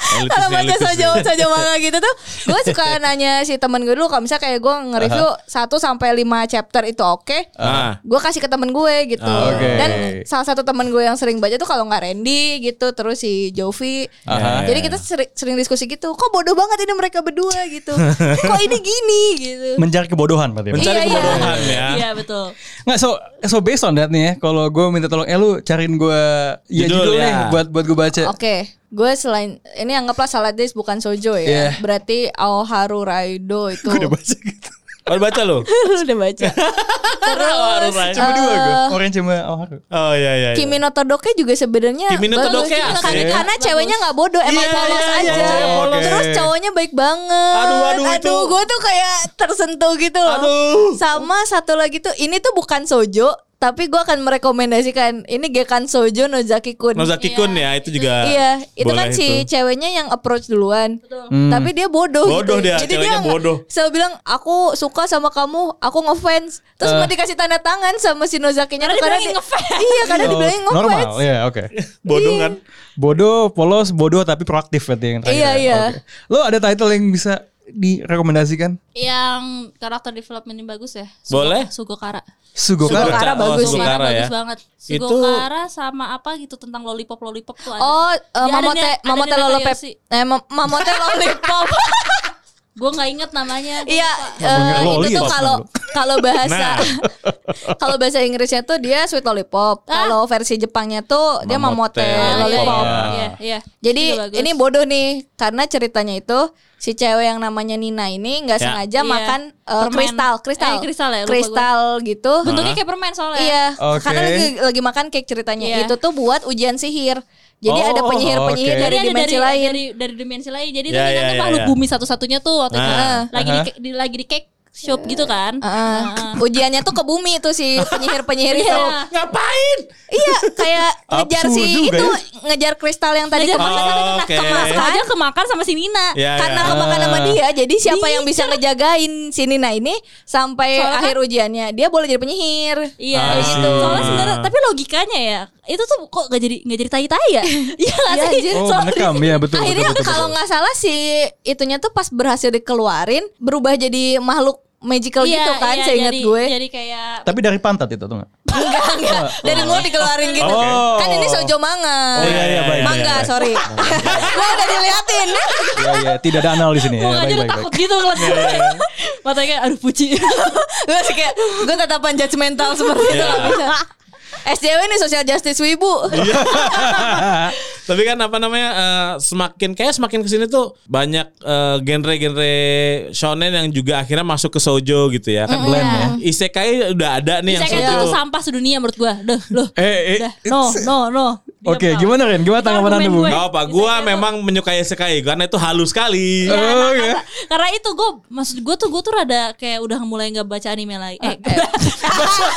D: Elitis
E: kalau
D: nih,
E: baca
D: elitis
E: sojo
D: nih.
E: sojo manga gitu tuh gue suka nanya si temen gue dulu kalau misalnya kayak gue nge-review 1 sampai 5 chapter itu oke.
D: Ah.
E: Gue kasih ke temen gue gitu
D: Ah,
A: oke.
E: Dan salah satu temen gue yang sering baca tuh kalau nggak Randy gitu Terus si Jovi Nah,
D: Iya,
A: Aha.
E: Jadi kita seri- sering diskusi gitu Kok bodoh banget ini mereka berdua gitu Kok ini gini gitu
D: iya.
A: Mencari kebodohan berarti.
D: Mencari
E: Iya, iya.
D: kebodohan ya.
F: Iya betul.
A: Nggak so so based on that nih ya. Kalau gue minta tolong eh lu cariin gue ya judul,
D: Judul,
A: nih
D: ya.
A: buat buat gue baca.
E: Oke, gue selain ini anggaplah salad days bukan sojo
A: Iya.
E: ya. Berarti Aoharu Raido itu.
A: Gue udah baca gitu.
D: Baru baca lo.
E: Lu udah baca. Terus
A: Cuma dua gue.
E: Eh.
A: Orang cuma oh harus.
D: Oh iya iya. iya.
E: Kimi no Todoke juga sebenarnya
D: Kimi no
E: bagus.
D: Todoke
E: Karena-
D: asik.
E: karena,
F: Bagus.
E: ceweknya nggak bodoh, emang
D: Iya,
E: polos
D: iya, iya,
E: aja.
D: cewek
A: polos.
E: Terus cowoknya baik banget.
D: Aduh, aduh, itu.
E: gue tuh kayak tersentuh gitu loh.
D: Aduh.
E: Sama satu lagi tuh, ini tuh bukan sojo, tapi gue akan merekomendasikan ini Gekan Sojo Nozaki Kun.
D: Nozaki Kun ya itu juga.
E: Iya, itu
D: boleh
E: kan si
D: itu. Hmm.
E: ceweknya yang approach duluan. Tapi dia bodoh.
D: Bodoh
E: gitu.
D: dia, ceweknya
E: nggak-
D: bodoh.
E: Selalu bilang aku suka sama kamu, aku ngefans. Terus
D: Eh.
E: nggak dikasih tanda tangan sama si Nozakinya
F: Karena
E: tuh
F: dibilangin
E: dia-
F: ngefans.
E: Iya, karena dibilangin ngefans.
A: Normal,
D: iya.
A: ya oke.
D: bodoh kan.
A: Bodoh, polos, bodoh tapi proaktif berarti yang terakhir.
E: Iya,
A: ya.
E: iya.
A: Oke. Lo ada title yang bisa direkomendasikan?
F: Yang karakter development yang bagus ya. Sugo-
D: Boleh.
F: Sugokara.
A: Sugokara.
E: Sugokara
D: Oh,
E: bagus sih.
D: Sugokara ya.
F: bagus banget.
D: Itu-
F: Sugokara sama apa gitu tentang lollipop lollipop tuh ada.
E: Oh, eh,
F: Dia Iya, ada
E: Mamote,
F: nih- ada
E: Mamote
F: nih
E: Lollipop.
F: Nakayoshi.
E: Eh, Mam- Mamote Lollipop.
F: Gue nggak inget namanya. gua
E: Iya,
F: lupa.
E: eh,
A: Lollipop
E: itu tuh kalau kalau bahasa
D: Nah.
E: kalau bahasa Inggrisnya tuh dia sweet lollipop.
F: Ah.
E: Kalau versi Jepangnya tuh dia
D: Mamote
E: Mamote
D: Lollipop.
E: Lollipop.
F: Iya, iya. Itu
E: Jadi
F: bagus.
E: ini bodoh nih karena ceritanya itu si cewek yang namanya Nina ini nggak
D: Ya.
E: sengaja
F: Iya.
E: makan eh,
F: Permen.
E: kristal, kristal,
F: Eh, kristal ya, lupa
E: kristal gitu.
F: bentuknya kayak permen soalnya.
E: Iya,
A: Oke.
E: karena lagi, lagi makan cake ceritanya
F: Iya.
E: itu tuh buat ujian sihir. Jadi
D: Oh,
E: ada penyihir-penyihir
A: oke.
E: dari
F: Jadi ada
E: dimensi
F: dari,
E: lain.
F: dari dari dimensi lain. Jadi
D: Iya,
F: itu
D: iya,
F: kan
D: iya,
F: makhluk
D: iya.
F: bumi satu-satunya tuh waktu itu
D: Nah.
F: lagi di,
A: Aha.
F: ke- di lagi di cake shop gitu kan.
E: Iya. Heeh. Ah, Ujiannya tuh ke bumi tuh si penyihir-penyihir itu.
F: Iya.
D: Ngapain?
E: Iya, kayak ngejar
A: Absurd
E: si
A: juga
E: itu
A: ya.
E: ngejar kristal yang tadi
F: Tadi
E: kemakan.
D: kristal.
A: Oh,
F: kemakan
D: Oke.
F: aja kemakan sama si Nina.
D: Ya,
E: Karena
D: ya.
E: kemakan sama
A: Ah.
E: dia, jadi siapa yang bisa ngejagain si Nina ini sampai
F: Iya. Soalnya kan-
E: akhir ujiannya, dia boleh jadi penyihir.
F: Iya
D: Ah,
F: kayak gitu.
D: sih.
F: Soalnya sebenarnya tapi logikanya ya itu tuh kok gak jadi gak jadi tai tai ya? Iya gak
E: Iya,
F: sih?
E: anjir.
A: Oh,
F: Soalnya-
A: menekam ya betul. betul,
E: Akhirnya
A: betul, betul.
E: kalau nggak salah si itunya tuh pas berhasil dikeluarin berubah jadi makhluk magical
F: Iya,
E: gitu kan,
F: iya,
E: seingat
F: jadi-
E: gue.
F: Jadi kayak
A: Tapi dari pantat itu tuh nggak?
E: Enggak, enggak. Dari mulut dikeluarin gitu.
A: Oh.
E: Kan ini sojo manga.
A: Oh, iya, iya, baik,
E: Mangga,
A: baik, baik.
E: sorry. Gue udah diliatin.
A: Iya iya, tidak ada anal di sini.
F: mau
A: Ya,
F: aja
A: baik
F: udah
A: baik
F: takut
A: baik.
F: gitu ngeliat gue. Matanya kayak aduh puji.
E: gue sih kayak gue tatapan judgmental seperti
D: Iya.
E: itu nggak bisa. SJW nih social justice wibu.
A: Iya.
D: Tapi kan apa namanya eh, semakin kayak semakin kesini tuh banyak eh, genre-genre shonen yang juga akhirnya masuk ke sojo gitu ya kan.
A: Blend
E: Iya.
A: ya.
D: Isekai udah ada nih
F: Saya
D: yang
F: kayak
D: sojo.
F: itu sampah sedunia menurut gue. Duh, loh.
A: Eh, eh,
F: Dah, no, no, no. Diam
A: Oke,
F: kau.
A: gimana Ren? Gimana
F: Itu
A: tanggapan Anda,
F: argumen
A: Bu?
F: gue.
D: Gak apa,
F: Isekai
D: gue
F: tuh-
D: memang eh, menyukai isekai karena itu halus sekali.
A: Oh,
F: Iya, nah,
A: ya.
F: karena- karena itu gue maksud gue tuh gue tuh rada kayak udah mulai nggak baca anime lagi eh,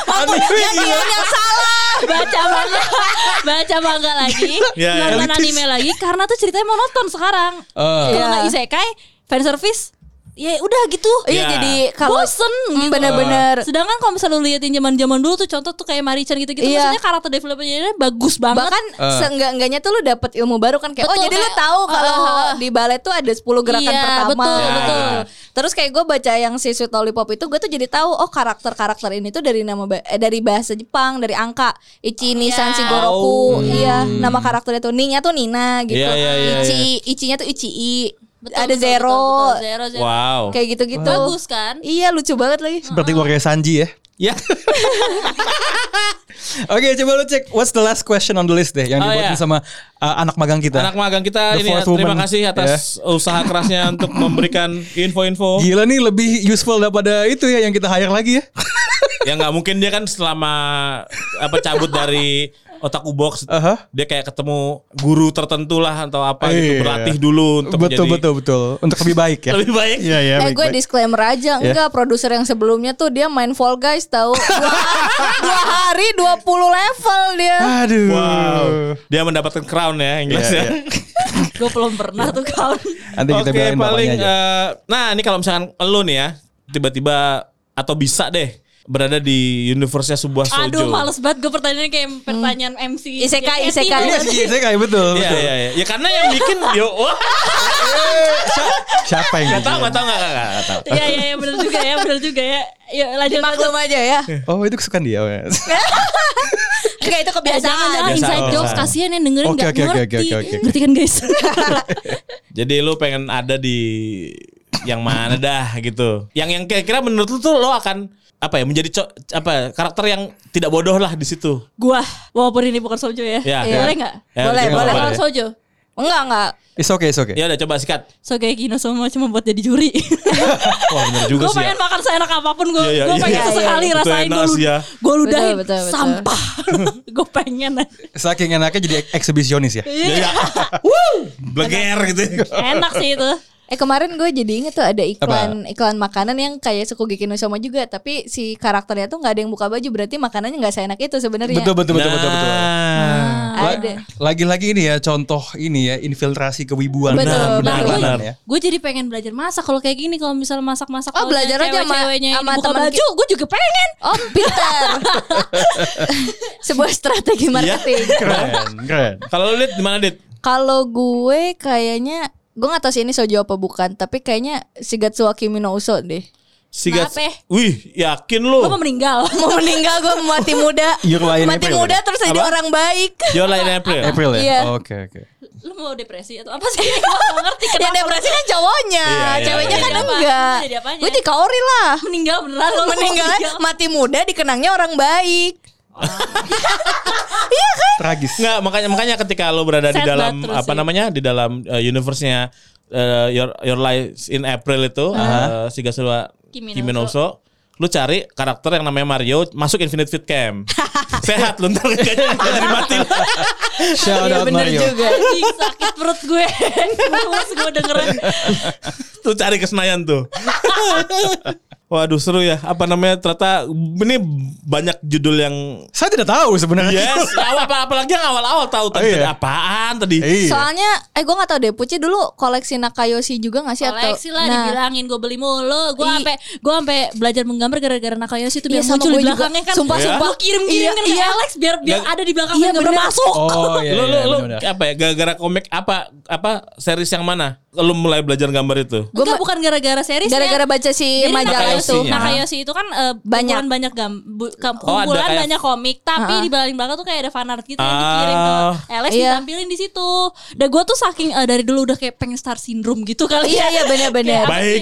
A: Aduh, iya.
E: yang salah.
F: baca manga baca manga lagi
D: Ya, ya.
F: nonton
A: Elitis.
F: anime lagi karena tuh ceritanya monoton sekarang
A: Eh,
F: kalau
E: Iya.
F: nggak isekai fan service ya udah gitu
E: Iya
D: Ya.
E: jadi kalau
F: bosen
E: Mm,
F: gitu
E: bener-bener.
F: sedangkan kalau misalnya lu liatin zaman zaman dulu tuh contoh tuh kayak Marichan gitu gitu
E: Iya.
F: maksudnya karakter developmentnya bagus banget
E: bahkan
A: Eh.
E: seenggak-enggaknya tuh lu dapet ilmu baru kan kayak oh
F: Betul,
E: jadi lu
F: kayak,
E: tahu kalau
F: ah, ah, ah.
E: di balet tuh ada 10 gerakan
F: Iya,
E: pertama
F: betul,
D: Ya. betul.
E: terus kayak gue baca yang si Sweet Lollipop itu gue tuh jadi tahu oh karakter-karakter ini tuh dari nama ba- eh, dari bahasa Jepang dari angka
F: Iya.
E: Ichi Nisan
D: Oh.
E: Shigoroku iya nama karakternya tuh Ninya tuh Nina gitu
D: Iya, iya, iya,
E: Ichi Ichinya tuh Ichii
F: Betul,
E: ada
F: betul,
E: Zero
F: betul, betul, zero, zero.
D: Wow.
E: kayak gitu-gitu
F: bagus kan
E: iya lucu banget lagi
A: seperti keluarga Sanji ya.
D: Ya.
A: Oke, coba lu cek what's the last question on the list deh yang
D: Oh,
A: dibuatin
D: iya.
A: sama uh, anak magang kita.
D: Anak magang kita
A: The
D: ini ya,
A: fourth
D: terima
A: woman. Ya.
D: kasih atas usaha kerasnya untuk memberikan info-info.
A: Gila nih lebih useful daripada itu ya yang kita hire lagi ya.
D: ya nggak mungkin dia kan selama apa cabut dari otaku box
A: Aha.
D: dia kayak ketemu guru tertentu lah atau apa
A: Iya.
D: gitu berlatih dulu untuk
A: betul
D: menjadi
A: betul betul untuk lebih baik ya.
D: lebih baik.
A: Iya iya.
E: Eh
A: baik,
E: gue
A: baik.
E: disclaimer aja Enggak produser yang sebelumnya tuh Dia main Fall Guys tahu dua, dua hari 20 level dia
A: Aduh.
D: Wow. Dia mendapatkan crown ya Inggris
A: Iya,
D: ya.
F: gue belum pernah tuh kau
A: Nanti kita
D: Oke,
A: biarin bapaknya
D: paling
A: aja.
D: eh, nah ini kalau misalkan elu nih ya tiba-tiba atau bisa deh berada di universe-nya sebuah shoujo.
F: Aduh males banget gue pertanyaan kayak pertanyaan Ya, MC Kayak
E: Isekai, isekai.
F: Eti
A: Iya,
F: tadi.
A: iya, saya kayak betul.
D: Iya,
A: betul.
D: iya, iya. Ya karena yang bikin yo wah.
A: Siapa yang
D: Gak
A: gitu?
D: tau, gak tau, gak, gak, gak, gak tau.
F: Iya iya iya benar juga ya benar juga ya. Yuk lanjut
E: Maklum aja ya.
A: Oh, itu kesukaan dia. Wes.
E: Enggak itu
F: Ya, jangan jangan
E: kebiasaan.
D: Biasa,
F: inside
D: biasa.
F: jokes kasihan yang dengerin
A: Oke,
F: nggak
A: oke, oke,
F: ngerti.
A: oke, oke, oke.
F: Ngerti kan guys?
D: Jadi lu pengen ada di yang mana dah gitu. Yang yang kira-kira menurut lu tuh lo akan apa ya menjadi co- apa karakter yang tidak bodoh lah di situ.
F: Gua walaupun ini bukan sojo ya.
D: Iya,
E: iya.
F: Boleh enggak?
A: Eh,
D: Ya,
E: Boleh,
D: jangan
E: boleh.
D: apa-apa
F: Bukan
D: ya.
F: sojo.
E: Enggak, enggak.
A: It's okay, it's okay.
D: Ya udah coba sikat.
F: So kayak Gino semua cuma buat jadi juri.
D: Wah bener juga
F: gue
D: sih. ya.
F: pengen makan seenak apapun gue.
D: Iya, iya,
F: gue
D: iya.
F: pengen
D: Iya, iya.
F: sesekali
D: Itu
F: rasain
D: enak
F: gue
D: sih ya.
F: Gue ludahin
E: Betul, betul, betul.
F: sampah. gue pengen.
A: Saking enaknya jadi ek- eksibisionis ya.
F: Iya.
D: Ya, ya. Bleger gitu.
E: Nah.
F: Enak sih itu.
E: Eh kemarin gue jadi inget tuh ada iklan iklan makanan yang kayak Sukugeki no Soma juga tapi si karakternya tuh nggak ada yang buka baju berarti makanannya nggak seenak itu sebenarnya.
A: Betul, betul, betul, betul, betul.
D: Nah.
A: La-
E: Ada.
A: Lagi-lagi ini ya contoh ini ya infiltrasi kewibuan
E: Betul,
A: dalam
F: Nah,
D: benar,
F: gue,
A: perjalanan ya.
F: gue jadi pengen belajar masak kalau kayak gini kalau misal masak-masak
E: Oh,
F: kalau
E: belajar
F: yang
E: aja sama-
F: cewek-ceweweknya ini
E: sama
F: buka
E: teman
F: baju, gue juga pengen.
E: Oh, pintar. Sebuah
A: Iya.
E: strategi marketing.
A: Keren, keren.
D: Kalau lu lihat di mana, Dit?
E: Kalau gue kayaknya gue gak tahu sih ini sojo apa bukan, tapi kayaknya Shigatsu wa Kimi no Uso deh.
D: Sigat.
F: Maaf ya.
D: Wih, yakin
F: Gue
D: lu.
F: mau meninggal.
E: eh. Mau meninggal gue mau mati muda.
A: You're lying
E: mati
A: April,
E: muda
A: ya?
E: terus jadi
D: Apa?
E: orang baik.
D: Jualan April.
A: April ya?
E: Iya.
A: Oke, oke.
F: Lu mau depresi atau apa sih? Gue gak ngerti
E: Yang
F: kenapa.
E: depresi kan cowoknya,
D: Iya, iya,
E: ceweknya
D: iya.
E: kan
F: Jadi apa?
E: enggak.
F: Jadi apanya?
E: Gue dikaori lah.
F: meninggal beneran lu mau
E: Oh, Meninggal
F: iya.
E: mati muda dikenangnya orang baik.
A: Tragis.
D: Nggak, makanya makanya ketika lo berada di
F: Sad
D: dalam
F: banget terus
D: apa
F: sih.
D: namanya di dalam uh, universe-nya uh, your your life in April itu uh, Siga Silva
F: Kimi no
D: Kimi no Uso, lu cari karakter yang namanya Mario masuk Infinite Fit Camp. Sehat lu ntar kayaknya jadi mati. lu.
E: Iya,
D: Iya,
A: Shout out Mario.
F: Anjing, sakit perut gue Mulus gue dengerin
D: Lu cari ke Senayan tuh. Waduh seru ya. Apa namanya ternyata ini banyak judul yang
A: Saya tidak tahu sebenarnya.
D: Yes, awal apa apalagi yang awal-awal tahu tadi
A: iya.
D: apaan tadi.
A: Iya.
E: Soalnya eh gue gak tahu deh Puci dulu koleksi Nakayoshi juga gak sih atau Nah,
F: Koleksi lah dibilangin Gue beli mulu Gue
E: I-
F: sampai Gue sampai belajar menggambar Gara-gara Nakayoshi itu
E: Iya,
F: Biar
E: sama
F: muncul
E: gue
F: di
E: juga.
F: belakangnya kan
E: Sumpah,
D: Iya.
E: sumpah.
F: Lu kirim-kirim
E: Iya,
F: kan
E: iya.
F: ke Alex Biar biar
D: Nggak-
F: ada di belakang
E: Iya,
F: yang gambar
E: bener.
F: masuk
A: Oh, iya.
D: lu
A: iya,
D: lu, lu
A: benar-benar.
D: apa ya gara-gara komik apa apa series yang mana lu mulai belajar gambar itu
E: Gua
F: Enggak
E: ma-
F: bukan gara-gara series ya.
E: Gara-gara baca si
F: Jadi
E: Iya, majalah
F: Nakayoshi-
E: itu.
D: Nakayoshi-nya.
F: Nakayoshi itu kan eh,
E: Banyak.
F: kumpulan banyak gam bu- ke-
D: Oh, ada
F: kumpulan
D: kayak-
F: banyak komik, tapi
E: Ah.
F: di balik belakang tuh kayak ada fan art gitu yang dikirim ke
D: Ah.
F: Alex
E: Iya.
F: ditampilin di situ. Dan gue tuh saking eh, dari dulu udah kayak pengen star syndrome gitu kali
E: Iya
F: ya.
E: iya benar-benar.
D: Baik.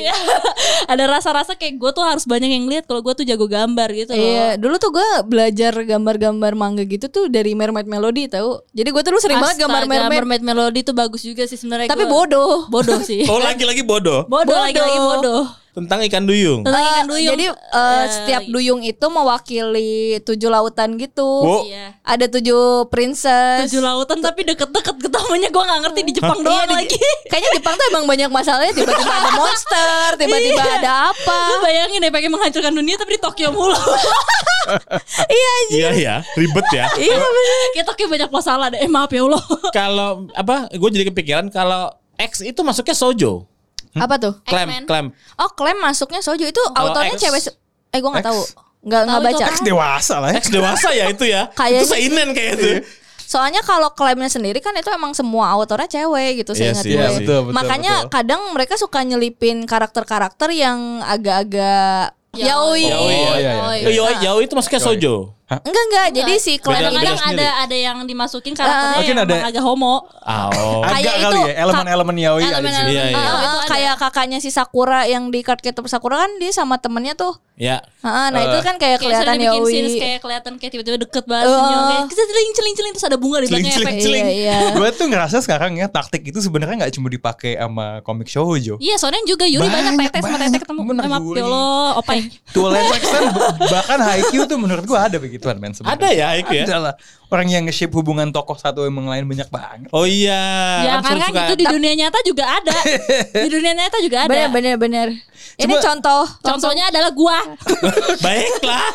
F: ada rasa-rasa kayak gue tuh harus banyak yang lihat kalau gue tuh jago gambar gitu. loh.
E: Iya, dulu tuh gue belajar gambar-gambar manga gitu tuh dari Mermaid Melody tahu. Jadi gue tuh lu sering banget gambar
F: Astaga,
E: mermaid,
F: Melody tuh bagus juga sih sebenarnya.
E: tapi
F: gua-
E: bodoh.
F: Bodoh sih.
D: oh lagi-lagi bodoh
F: bodoh
E: Bodoh.
F: lagi-lagi bodoh.
D: tentang ikan duyung
F: Tentang
E: Eh,
F: ikan duyung.
E: Jadi eh,
F: Eh,
E: setiap duyung itu mewakili tujuh lautan gitu.
D: Oh.
F: Iya.
E: Ada tujuh princess.
F: tujuh lautan tapi deket-deket ketemunya gue nggak ngerti di Jepang
E: Iya,
F: doang
E: di-
F: lagi.
E: Kayaknya Jepang tuh emang banyak masalahnya. Tiba-tiba ada monster, tiba-tiba
F: Iya.
E: ada apa?
F: Lu bayangin deh pengen menghancurkan dunia tapi di Tokyo mulu.
E: Iya.
D: iya ya ribet ya
F: iya bener. Kayak Tokyo banyak masalah deh. Eh maaf ya Allah.
D: kalau apa gue jadi kepikiran kalau X itu masuknya sojo
E: Apa tuh?
F: X-Men.
D: Clamp, clamp.
E: Oh, klaim masuknya soju itu
D: Kalau
E: autornya
D: X-
E: cewek. se- Eh, gue
A: X.
E: nggak tahu. Nggak nggak
F: Tahu itu
E: baca.
F: apa?
A: Dewasa lah ya.
D: X dewasa ya itu ya.
E: Kayaknya-
D: Itu seinen kayak itu.
F: Iya
E: Soalnya kalau klaimnya sendiri kan itu emang semua autornya cewek gitu
D: Iya
E: seingat
D: sih,
E: gue.
D: iya sih. Betul,
A: betul,
E: Makanya
A: betul.
E: kadang mereka suka nyelipin karakter-karakter yang agak-agak
F: Ya, oh
D: Yaoi,
E: yaoi.
D: iya, Oh,
A: iya, iya.
D: Yo, yo itu masuknya sojo.
E: Enggak enggak. Jadi si klaim
D: Beda-
E: ini
F: Kadang-kadang
D: beda sendiri.
F: ada ada yang dimasukin karakternya
A: Mungkin
F: yang
A: ada-
F: emang agak homo.
D: Ah, Oh.
A: Agak
E: Kayak
A: kali
E: itu,
A: ya elemen-elemen yaoi ada di sini.
D: Iya,
F: Elemen-elemen
D: iya.
F: tahu
E: Ah,
F: itu ada.
E: kayak kakaknya si Sakura yang di Card Captor Sakura kan dia sama temennya tuh.
D: Ya.
E: Ah, nah itu kan
F: Kayak
E: kayak
F: kelihatan
E: kelihatan
B: ya,
F: bikin scenes
E: yaoi.
F: kayak kelihatan kayak tiba-tiba deket banget senyum kayak kita celing celing celing terus ada bunga di
D: Celing,
F: belakangnya
D: celing,
F: efek.
D: celing.
E: Iya, iya.
A: Gue tuh ngerasa sekarang ya taktik itu sebenarnya nggak cuma dipakai sama komik shoujo.
F: Iya, soalnya juga Yuri banyak,
A: Banyak,
F: tete sama tete
A: banyak.
F: ketemu.
A: Bener,
F: Eh, maaf
A: Yuri.
F: ya Allah, opai.
A: Tulen Sexton bahkan Haikyuu tuh menurut gue ada begituan men sebenarnya.
D: Ada ya Haikyuu ya?
A: Ada lah. Orang yang nge-shape hubungan tokoh satu emang lain banyak banget.
D: Oh iya.
F: Ya
D: Kan
F: karena
D: suka-
F: itu di dunia nyata juga ada. Di dunia nyata juga ada.
E: Bener bener bener. Ini
A: Cuma-
E: contoh.
F: Contohnya adalah gua.
D: Baiklah.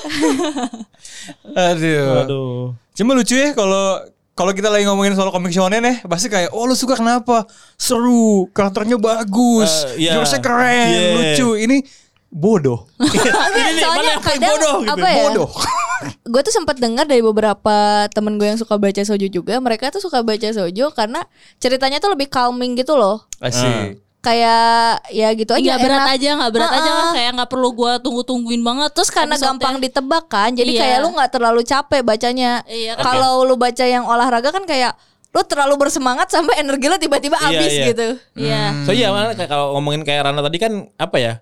A: Aduh.
D: Aduh.
A: Cuma lucu ya kalau kalau kita lagi ngomongin soal komik shonen ya, pasti kayak oh lu suka kenapa? Seru, karakternya bagus,
D: Eh, iya.
A: jurusnya keren,
D: Yeah.
A: lucu. Ini bodoh.
D: Iya. Ini nih, mana
E: Iya.
D: yang
E: soalnya
D: paling
E: kadang,
D: bodoh gitu.
E: apa ya?
A: bodoh.
E: gue tuh sempat dengar dari beberapa temen gue yang suka baca soju juga mereka tuh suka baca soju karena ceritanya tuh lebih calming gitu loh
A: Asik.
E: kayak ya gitu aja
F: Nggak Iya, berat
E: enak.
F: aja, nggak berat aja lah.
E: Ha-ha.
F: Kayak nggak perlu gua tunggu-tungguin banget.
E: terus karena
F: episode-nya.
E: gampang ditebak kan jadi
F: Iya.
E: kayak lu nggak terlalu capek bacanya
F: Iya, kan.
E: kalau lu baca yang olahraga kan kayak lu terlalu bersemangat sampai energi lu tiba-tiba
D: Iya,
E: habis
D: iya.
E: gitu
F: Iya.
D: So iya mana kayak kalau ngomongin kayak Rana tadi kan apa ya?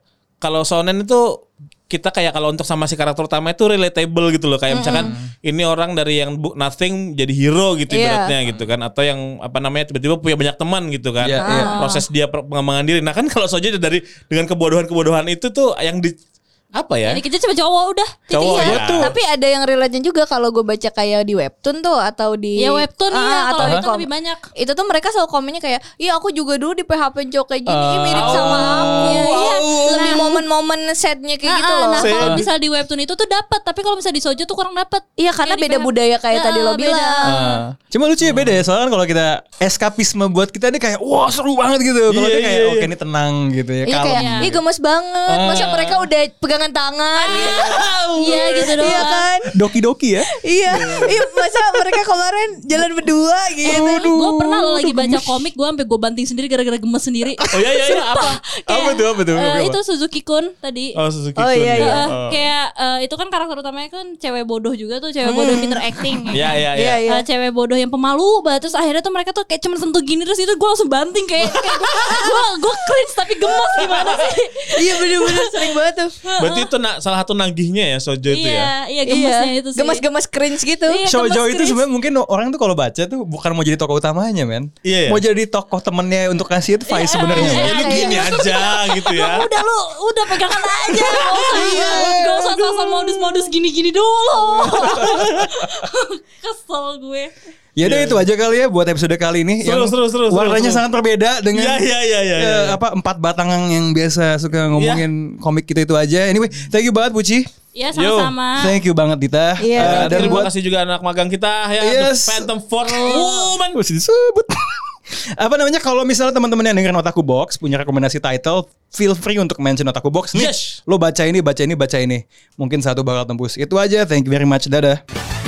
D: Kalau sonen itu kita kayak kalau untuk sama si karakter utama itu relatable gitu loh kayak misalkan ini orang dari yang bu- nothing jadi hero gitu
E: Iya.
D: ibaratnya gitu kan atau yang apa namanya tiba-tiba punya banyak teman gitu kan
A: Iya, iya.
E: Ah.
D: proses dia per- pengembangan diri nah kan kalau soalnya dari dengan kebodohan-kebodohan itu tuh yang di apa ya
F: Ini kerja cuma cowok udah.
D: Cowok,
E: Iya,
D: ya.
E: tapi ada yang relate-nya juga kalau gue baca kayak di webtoon tuh atau di
F: Ya webtoon
E: Ah,
F: iya,
E: atau
F: kalau
E: di
F: webtoon
E: kom-
F: lebih banyak.
E: itu tuh mereka selalu komennya kayak iya aku juga dulu di PHP cowok kayak gini ih, mirip sama aku Nah.
F: Iya, iya.
E: Ah. Oh, lebih momen-momen setnya
F: Ah,
E: kayak
F: ah,
E: gitu loh
F: Nah, kalau misal di webtoon itu tuh dapat, tapi kalau misal di sojo tuh kurang dapat.
E: iya
F: Yang
E: karena
F: di
E: beda
F: PH.
E: budaya kayak
F: Ya,
E: tadi lo
F: beda.
E: bilang
A: Ah. Cuma lucu ya beda ya Soalnya kan kalau kita Eskapisme buat kita ini kayak Wah seru banget gitu Kalau
D: Iya,
A: dia kayak
D: iya,
A: Oke
D: iya.
A: ini tenang gitu ya
E: Iya
A: Kalau
E: kayak, ih gemes banget. Masa mereka udah pegangan tangan?
F: Iya gitu doang.
E: Iya kan?
A: Doki-doki ya
E: Iya. Iya, masa mereka kemarin jalan berdua gitu.
F: Gue pernah loh lagi baca komik, gue sampai gue banting sendiri gara-gara gemes sendiri.
D: oh iya iya, iya apa
A: Apa tuh apa tuh
F: Eh,
A: Apa?
F: itu Suzuki Kun tadi.
D: oh Suzuki
E: Oh,
D: Kun,
E: iya,
D: ya.
E: iya.
F: Eh,
D: Oh.
F: Kayak eh, itu kan karakter utamanya kan cewek bodoh juga tuh, cewek bodoh yang pinter acting.
D: Iya, iya, iya.
E: Iya, iya.
F: Eh, cewek bodoh yang pemalu banget terus akhirnya tuh mereka tuh kayak cuma sentuh gini terus itu gue langsung banting kayak, kayak gue gue cringe tapi gemes gimana sih
E: Iya bener-bener sering banget tuh.
D: berarti itu na- salah satu nagihnya ya sojo itu ya
F: iya iya gemesnya itu sih
E: Gemes-gemes cringe gitu.
F: Iya,
A: Shoujo
F: gemes
A: itu
F: cringe.
A: sebenarnya mungkin orang tuh kalau baca tuh bukan mau jadi tokoh utamanya men.
D: Iya, iya.
A: Mau jadi tokoh temennya untuk ngasih
E: Iya,
A: advice sebenarnya.
D: ya
A: men.
D: lu gini aja gitu ya
F: udah lu udah pegangan aja gak usah gak usah pasang modus-modus gini-gini dulu kesel gue
A: Ya udah itu aja kali ya buat episode kali ini.
D: Iya, Seru, seru, seru, seru,
A: Warnanya
D: seru.
A: sangat berbeda dengan
D: Iya, iya, iya, iya,
A: eh,
D: iya.
A: apa empat batangan yang biasa suka ngomongin komik kita itu aja. Anyway, thank you banget Puci.
F: ya sama-sama
A: Thank you banget Dita.
E: Ah. Iya.
A: Eh, dan
D: terima
A: buat
D: kasih juga anak magang kita ya
A: Yes.
D: The Phantom Four Woman.
A: Mesti disebut. apa namanya kalau misalnya teman-teman yang dengerin Otaku Box punya rekomendasi title feel free untuk mention Otaku Box nih
D: Yes.
A: lo baca ini baca ini baca ini mungkin satu bakal tembus itu aja thank you very much dadah